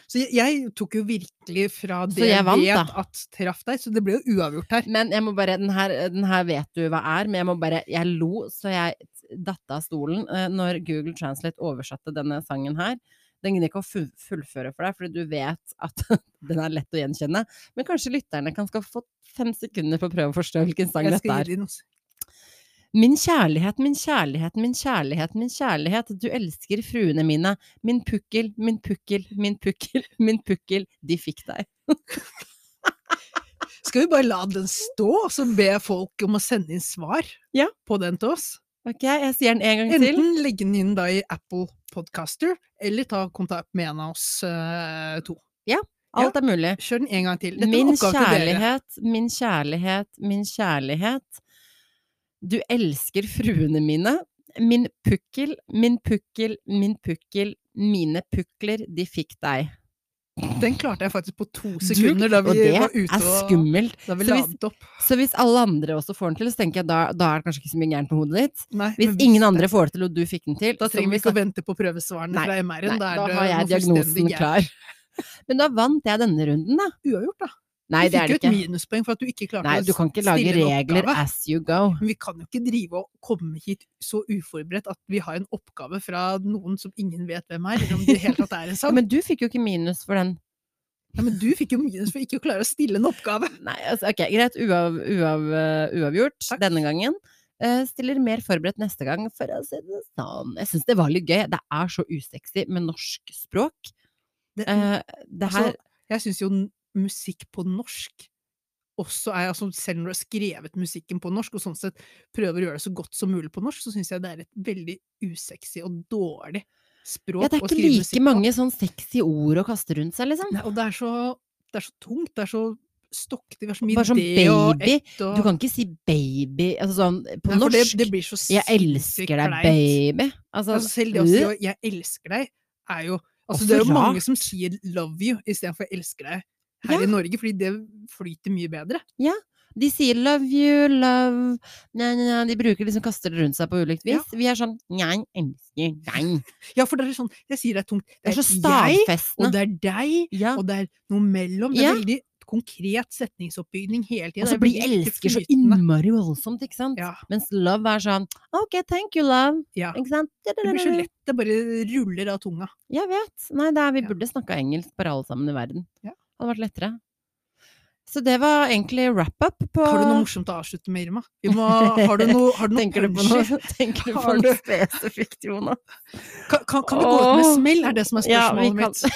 S2: Så jeg, jeg tok jo virkelig fra
S1: Så
S2: det jeg,
S1: jeg vant,
S2: vet
S1: da.
S2: at traff deg, så det ble jo uavgjort her.
S1: Men jeg må bare, den her, den her vet du hva er, men jeg må bare Jeg lo så jeg datt av stolen eh, når Google Translate oversatte denne sangen her. Den gidder ikke å fu- fullføre for deg, fordi du vet at <laughs> den er lett å gjenkjenne. Men kanskje lytterne kan skal få fem sekunder på å prøve å forstå hvilken sang
S2: Jeg
S1: dette
S2: skal
S1: er.
S2: gi deg noe.
S1: Min kjærlighet, min kjærlighet, min kjærlighet, min kjærlighet, du elsker fruene mine. Min pukkel, min pukkel, min pukkel, <laughs> min pukkel, de fikk deg.
S2: Skal vi bare la den stå, og så be folk om å sende inn svar
S1: Ja.
S2: på den til oss?
S1: Ok, jeg sier den en gang til.
S2: Enten legge den inn da i Apple Podcaster, eller ta kontakt med en av oss eh, to.
S1: Alt er mulig.
S2: Kjør den en gang til. Dette er en
S1: min
S2: oppgave til dere.
S1: kjærlighet, min kjærlighet, min kjærlighet. Du elsker fruene mine. Min pukkel, min pukkel, min pukkel. Mine pukler, de fikk deg.
S2: Den klarte jeg faktisk på to
S1: Du-
S2: sekunder da vi var
S1: og det
S2: ute
S1: er
S2: og
S1: skummelt.
S2: da vi
S1: Så hvis-
S2: ladet opp.
S1: Så hvis alle andre også får den til, så tenker jeg da, da er det kanskje ikke så mye gærent med hodet ditt.
S2: Nei,
S1: Hvis
S2: men
S1: ingen andre får det til, og du fikk den til,
S2: Da
S1: så må
S2: trenger vi ikke å
S1: snakke-
S2: vente på prøvesvarene
S1: Nei,
S2: fra MR-en.
S1: Nei,
S2: Da, er
S1: da
S2: det
S1: har jeg
S2: noe fullstendig
S1: diagnosen
S2: gærent.
S1: klar. Men da vant jeg denne runden, da.
S2: Uavgjort, da.
S1: Nei,
S2: du
S1: det er
S2: fikk jo
S1: det
S2: et
S1: ikke.
S2: minuspoeng for at du ikke klarte
S1: Nei, du
S2: å
S1: kan ikke lage
S2: stille en
S1: regler
S2: oppgave.
S1: as you go.
S2: Men vi kan jo ikke drive og komme hit så uforberedt at vi har en oppgave fra noen som ingen vet hvem er, eller om det i det hele tatt er en
S1: Ja,
S2: sak.
S1: men du fikk jo ikke minus for den.
S2: Nei, men du fikk jo minus for ikke å klare å stille en oppgave.
S1: Nei, altså, ok, greit. Uav, uav, eh, uavgjort
S2: Takk.
S1: denne gangen. Eh, stiller mer forberedt neste gang, for å si det sånn. Jeg syns det var litt gøy. Det er så usexy med norsk språk.
S2: Det,
S1: Eh, det her
S2: altså, jeg syns jo n- musikk på norsk også er, altså Selv når du har skrevet musikken på norsk, og sånn sett prøver å gjøre det så godt som mulig på norsk, så syns jeg det er et veldig usexy og dårlig språk
S1: ja, Det er
S2: å
S1: ikke
S2: skrive
S1: like
S2: musikk på.
S1: mange sånn sexy ord å kaste rundt seg, liksom.
S2: Nei, og det er så, det er så tungt, det er så stokkete, vi har så mye
S1: Bare sånn
S2: det og
S1: baby.
S2: ett og
S1: Du kan ikke si baby altså sånn, på
S2: Nei, for
S1: norsk.
S2: Det, det blir så
S1: jeg
S2: sinnssykt
S1: elsker deg,
S2: kleint.
S1: baby. Altså,
S2: Altså, selv det å si
S1: øh,
S2: jo 'jeg elsker deg', er jo
S1: Og
S2: Altså, det er
S1: så
S2: jo mange som sier 'love you' istedenfor 'jeg elsker deg' her
S1: Ja.
S2: i Norge, fordi det flyter mye bedre.
S1: De sier 'love you, love Nei, nei, nei, De bruker liksom kaster det rundt seg på ulikt
S2: Ja.
S1: vis. Vi er sånn 'jeg elsker deg'.
S2: Ja, for det er sånn Jeg sier det er tungt.
S1: Det er så
S2: jeg, og
S1: stavfestende.
S2: det er deg,
S1: Ja.
S2: og det er noe mellom. Det
S1: Ja.
S2: er veldig konkret setningsoppbygning hele tiden.
S1: Og så
S2: Det er
S1: blir
S2: veldig
S1: 'elsker' så
S2: flytende.
S1: innmari voldsomt, ikke sant?
S2: Ja.
S1: Mens 'love' er sånn 'ok, thank you, love'.
S2: ja.
S1: Ikke sant?
S2: Det blir så lett. Det bare ruller av tunga.
S1: Jeg vet. Nei, det er, vi
S2: Ja.
S1: burde snakka engelsk bare alle sammen i verden.
S2: Ja.
S1: Det hadde vært lettere. Så det var egentlig wrap-up på
S2: Har du noe morsomt å avslutte med, Irma? Vi må,
S1: <laughs>
S2: har du noe, har du noe
S1: Tenker du på
S2: punchy?
S1: noe, <laughs> tenker du på
S2: Har
S1: noe
S2: du-
S1: spesifikt, Jonas?
S2: Kan, kan, kan vi gå ut med
S1: Åh.
S2: smell, er det som er
S1: Ja, vi kan-
S2: spørsmålet mitt.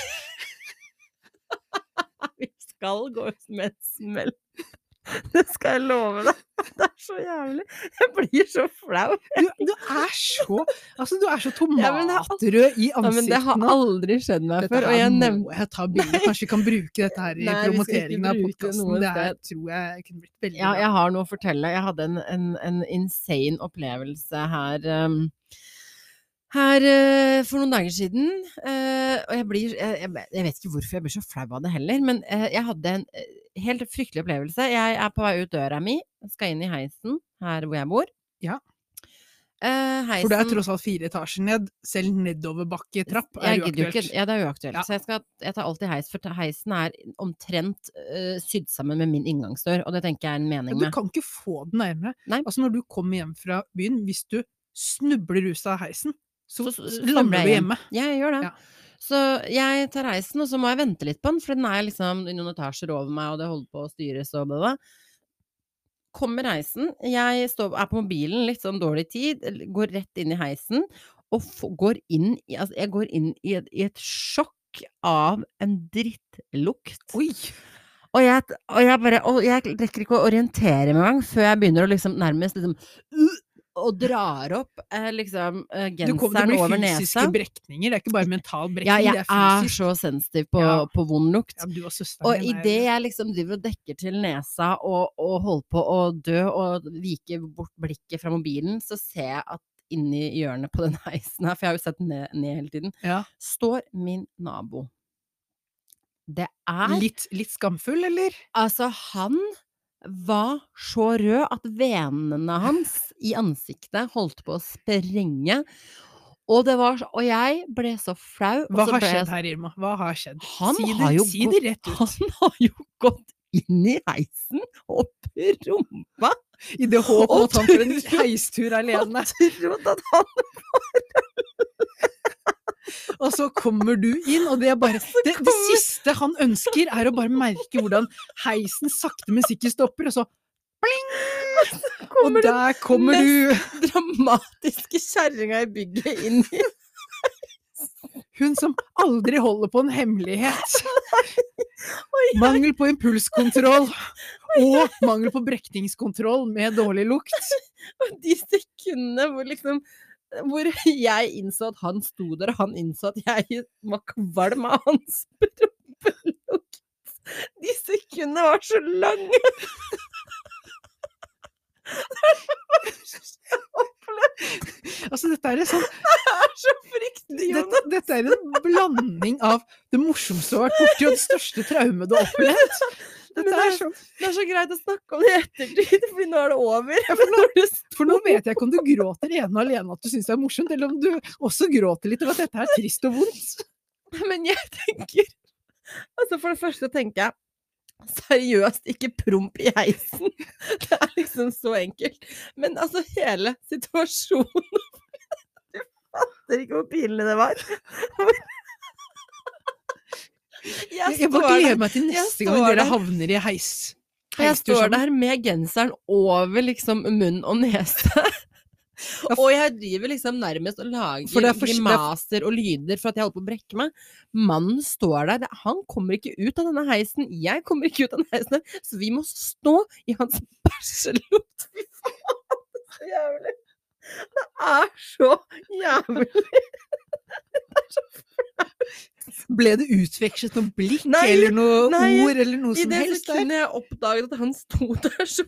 S1: Vi skal gå ut med et smell. <laughs> Det skal jeg love deg. Det er så jævlig. Jeg blir så flau.
S2: Du, du er så Altså, du er så
S1: Ja, men det har alt-
S2: tomatrød i
S1: Ja, men det
S2: ansiktet
S1: har
S2: nå.
S1: aldri skjedd meg
S2: Dette
S1: før. Og
S2: her
S1: jeg
S2: må
S1: nevnte
S2: jeg ta bilde. Kanskje vi kan bruke dette her i
S1: Nei, vi skal ikke
S2: promoteringen av
S1: bruke
S2: podkasten.
S1: noe
S2: Det her tror jeg kunne blitt veldig
S1: Ja,
S2: bra.
S1: jeg har noe å fortelle. Jeg hadde en, en, en insane opplevelse her ehm, her eh, for noen dager siden. eh, og jeg blir jeg, jeg, jeg vet ikke hvorfor jeg blir så flau av det heller, men eh, jeg hadde en eh, helt fryktelig opplevelse. Jeg er på vei ut døra mi, skal inn i heisen her hvor jeg bor.
S2: Ja.
S1: Eh, heisen
S2: For det er tross alt fire etasjer ned. Selv nedoverbakke-trapp er
S1: jeg gidder jo
S2: uaktuelt.
S1: ikke- Ja, det er uaktuelt.
S2: Ja.
S1: Så jeg, skal, jeg tar alltid heis, for heisen er omtrent eh, sydd sammen med min inngangsdør, og det tenker jeg er en mening
S2: Du
S1: med.
S2: kan ikke få den nærmere.
S1: Nei.
S2: Altså, når du kommer hjem fra byen, hvis du snubler ut av heisen, så,
S1: Så- så snubler
S2: lander
S1: jeg
S2: du
S1: hjem.
S2: hjemme.
S1: Ja, jeg gjør det.
S2: Ja.
S1: Så jeg tar heisen, og så må jeg vente litt på den, for den er liksom i noen etasjer over meg, og det holder på å styres og bla, bla. Kommer heisen, jeg står, er på mobilen, litt sånn dårlig tid, l- går rett inn i heisen, og f- går inn i Altså, jeg går inn i et, i et sjokk av en drittlukt.
S2: Oi!
S1: Og jeg, og jeg bare og Jeg rekker ikke å orientere meg engang før jeg begynner å liksom nærmest liksom «Ugh!» Og drar opp eh, liksom eh,
S2: Du kom, det
S1: genseren
S2: blir
S1: over
S2: fysiske
S1: nesa.
S2: brekninger, det er ikke bare mental brekning.
S1: Ja, jeg
S2: det
S1: er,
S2: er fysisk.
S1: så sensitiv på,
S2: Ja.
S1: på vond lukt.
S2: Ja, du og søsteren
S1: Og
S2: din er-
S1: idet jeg liksom driver og dekker til nesa og, og holder på å dø og viker bort blikket fra mobilen, så ser jeg at inni hjørnet på den <laughs> heisen her, for jeg har jo sett ned, ned hele tiden,
S2: Ja.
S1: står min nabo. Det er
S2: litt, litt skamfull, eller?
S1: Altså, han var så rød at venene hans i ansiktet holdt på å sprenge. Og, det var, så- og jeg ble så flau. og
S2: Hva
S1: så
S2: har
S1: ble jeg sånn, <laughs>
S2: skjedd her, Irma? Hva altså. har skjedd?
S1: han
S2: si det,
S1: har jo
S2: si
S1: gått,
S2: det rett ut.
S1: Han har jo gått inn i heisen og
S2: <laughs>
S1: prompa
S2: I det håp om
S1: Og
S2: at han får en
S1: trodde-
S2: <laughs> heistur
S1: og
S2: alene.
S1: trodde at han
S2: <laughs> Og så kommer du inn, og det er <laughs> bare det, det
S1: kommer-
S2: siste han ønsker, er å bare merke hvordan heisen sakte, men sikkert stopper, og så <laughs> Og
S1: kommer den
S2: der kommer du!
S1: dramatiske kjerringa i bygget inn i
S2: Hun som aldri holder på en <laughs> hemmelighet.
S1: jeg-
S2: Mangel på impulskontroll. Og mangel på brekningskontroll med dårlig lukt.
S1: de sekundene hvor liksom hvor jeg innså at han sto der, og han innså at jeg var kvalm av hans <laughs> prompelukt. De sekundene var så lange! Det er det verste jeg har opplevd.
S2: Altså, dette er en sånn
S1: Det er så fryktelig, Jonas.
S2: dette, dette er en blanding av det morsomste du har vært borti, og det største traumet du har opplevd.
S1: Men
S2: Dette
S1: det
S2: er
S1: er-
S2: sånn,
S1: Det er så greit å snakke om det i ettertid, fordi <laughs> nå er det over. Men når det sto-
S2: for nå vet jeg ikke om du gråter ene og alene at du syns det er morsomt, eller om du også gråter litt over at dette er trist og vondt.
S1: <laughs> Men jeg tenker Altså, for det første tenker jeg Seriøst, ikke promp i heisen. <laughs> Det er liksom så enkelt. Men altså, hele situasjonen <laughs> Du fatter ikke hvor pinlig det var. Jeg
S2: Jeg bare
S1: der-
S2: gleder meg til neste gang
S1: står
S2: dere
S1: der.
S2: havner i heis.
S1: Jeg
S2: heistur
S1: står
S2: sammen.
S1: der med genseren over liksom munn og nese. Og jeg driver liksom nærmest og
S2: For det
S1: lager
S2: er for- det er-
S1: grimaser og lyder for at jeg holder på å brekke meg. Mannen står der. det- Han kommer ikke ut av denne heisen. Jeg kommer ikke ut av denne heisen. her, Så vi må stå i hans bæsjelukt. <laughs> Fy faen, så jævlig. Det er så jævlig.
S2: Ble det utvekslet noen blikk
S1: Nei,
S2: eller noen
S1: nei,
S2: ord eller noe
S1: I
S2: som
S1: det
S2: helst der?
S1: sekundet jeg oppdaget at han sto der, så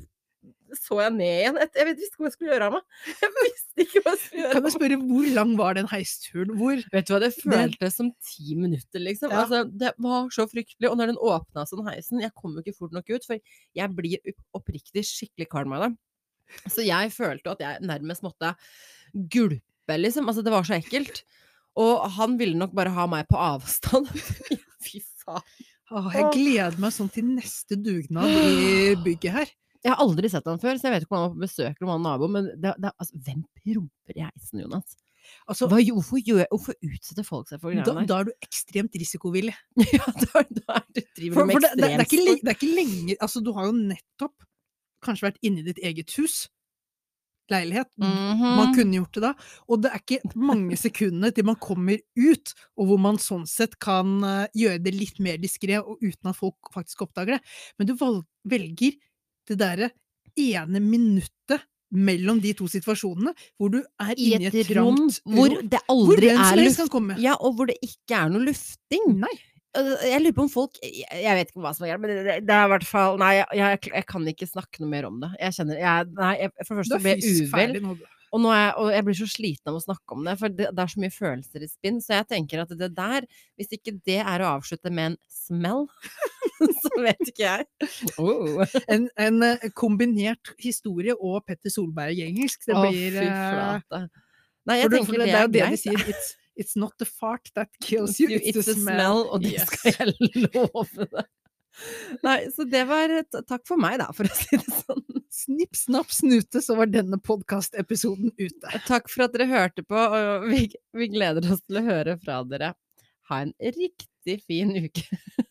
S1: så jeg ned igjen. Jeg- Jeg vet- visste ikke hva jeg skulle gjøre av meg. Jeg visste ikke hva jeg skulle gjøre.
S2: Kan jeg spørre, hvor lang var den heisturen? Hvor
S1: Vet du hva, det
S2: Det-
S1: føltes som ti minutter, liksom.
S2: Ja.
S1: Altså, det var så fryktelig. Og når den åpna sånn heisen, jeg kom jo ikke fort nok ut, for jeg blir opp- oppriktig skikkelig kvalm av det. Så jeg følte at jeg nærmest måtte gulpe, liksom. Altså, det var så ekkelt. Og han ville nok bare ha meg på avstand. <laughs> Fy faen.
S2: Åh, Jeg gleder meg sånn til neste dugnad i bygget her.
S1: Jeg har aldri sett han før, så jeg vet ikke om han var på besøk eller om han var nabo, men det, det, altså, hvem promper i heisen, Jonas?
S2: Altså,
S1: Hva, jo, hvorfor, gjør, hvorfor utsetter folk seg for
S2: da,
S1: greiene der?
S2: da er du ekstremt risikovillig.
S1: <laughs> Ja, da, da er det driver
S2: For,
S1: du med
S2: for det, det, det, er ikke,
S1: ekstremsport.
S2: le- det er ikke lenge Altså, du har jo nettopp kanskje vært inni ditt eget hus. Leilighet. Man
S1: Mhm.
S2: kunne gjort det da. Og det er ikke mange sekundene til man kommer ut, og hvor man sånn sett kan eh, gjøre det litt mer diskré, og uten at folk faktisk oppdager det. Men du valg, velger det derre ene minuttet mellom de to situasjonene, hvor du er
S1: i
S2: inni
S1: et,
S2: et,
S1: rom
S2: trangt
S1: hvor
S2: rom,
S1: det
S2: hvor
S1: aldri
S2: hvem som
S1: er
S2: helst
S1: luft.
S2: kan komme.
S1: Ja, og hvor det ikke er noe lufting.
S2: Nei.
S1: Øh, Jeg lurer på om folk Jeg jeg vet ikke hva som er greit, men det- det- det er i hvert fall Nei, jeg, jeg, jeg kan ikke snakke noe mer om det. Jeg kjenner jeg, Nei, jeg, for det
S2: Du
S1: første
S2: er
S1: ble jeg
S2: fysisk
S1: uvel,
S2: ferdig nå. du.
S1: og, nå er jeg, og jeg blir så sliten av å snakke om det, for det, det er så mye følelser i spinn. Så jeg tenker at det der, hvis ikke det er å avslutte med en smell, <laughs> så vet ikke jeg. Oh.
S2: En, en eh, kombinert historie og Petter Solberg-engelsk. Det blir
S1: Å, fy
S2: eh,
S1: flate. Nei,
S2: for
S1: jeg
S2: du-
S1: tenker
S2: for
S1: det,
S2: det, det er jo det
S1: greit.
S2: de sier. It's, it's not the fart that kills you, it's, the smell.
S1: og det
S2: Yes.
S1: skal jeg love deg. Nei, så det var et takk for meg, da, for å si det sånn.
S2: Snipp, snapp, snute, så var denne podkastepisoden ute.
S1: Takk for at dere hørte på, og vi, vi gleder oss til å høre fra dere. Ha en riktig fin uke.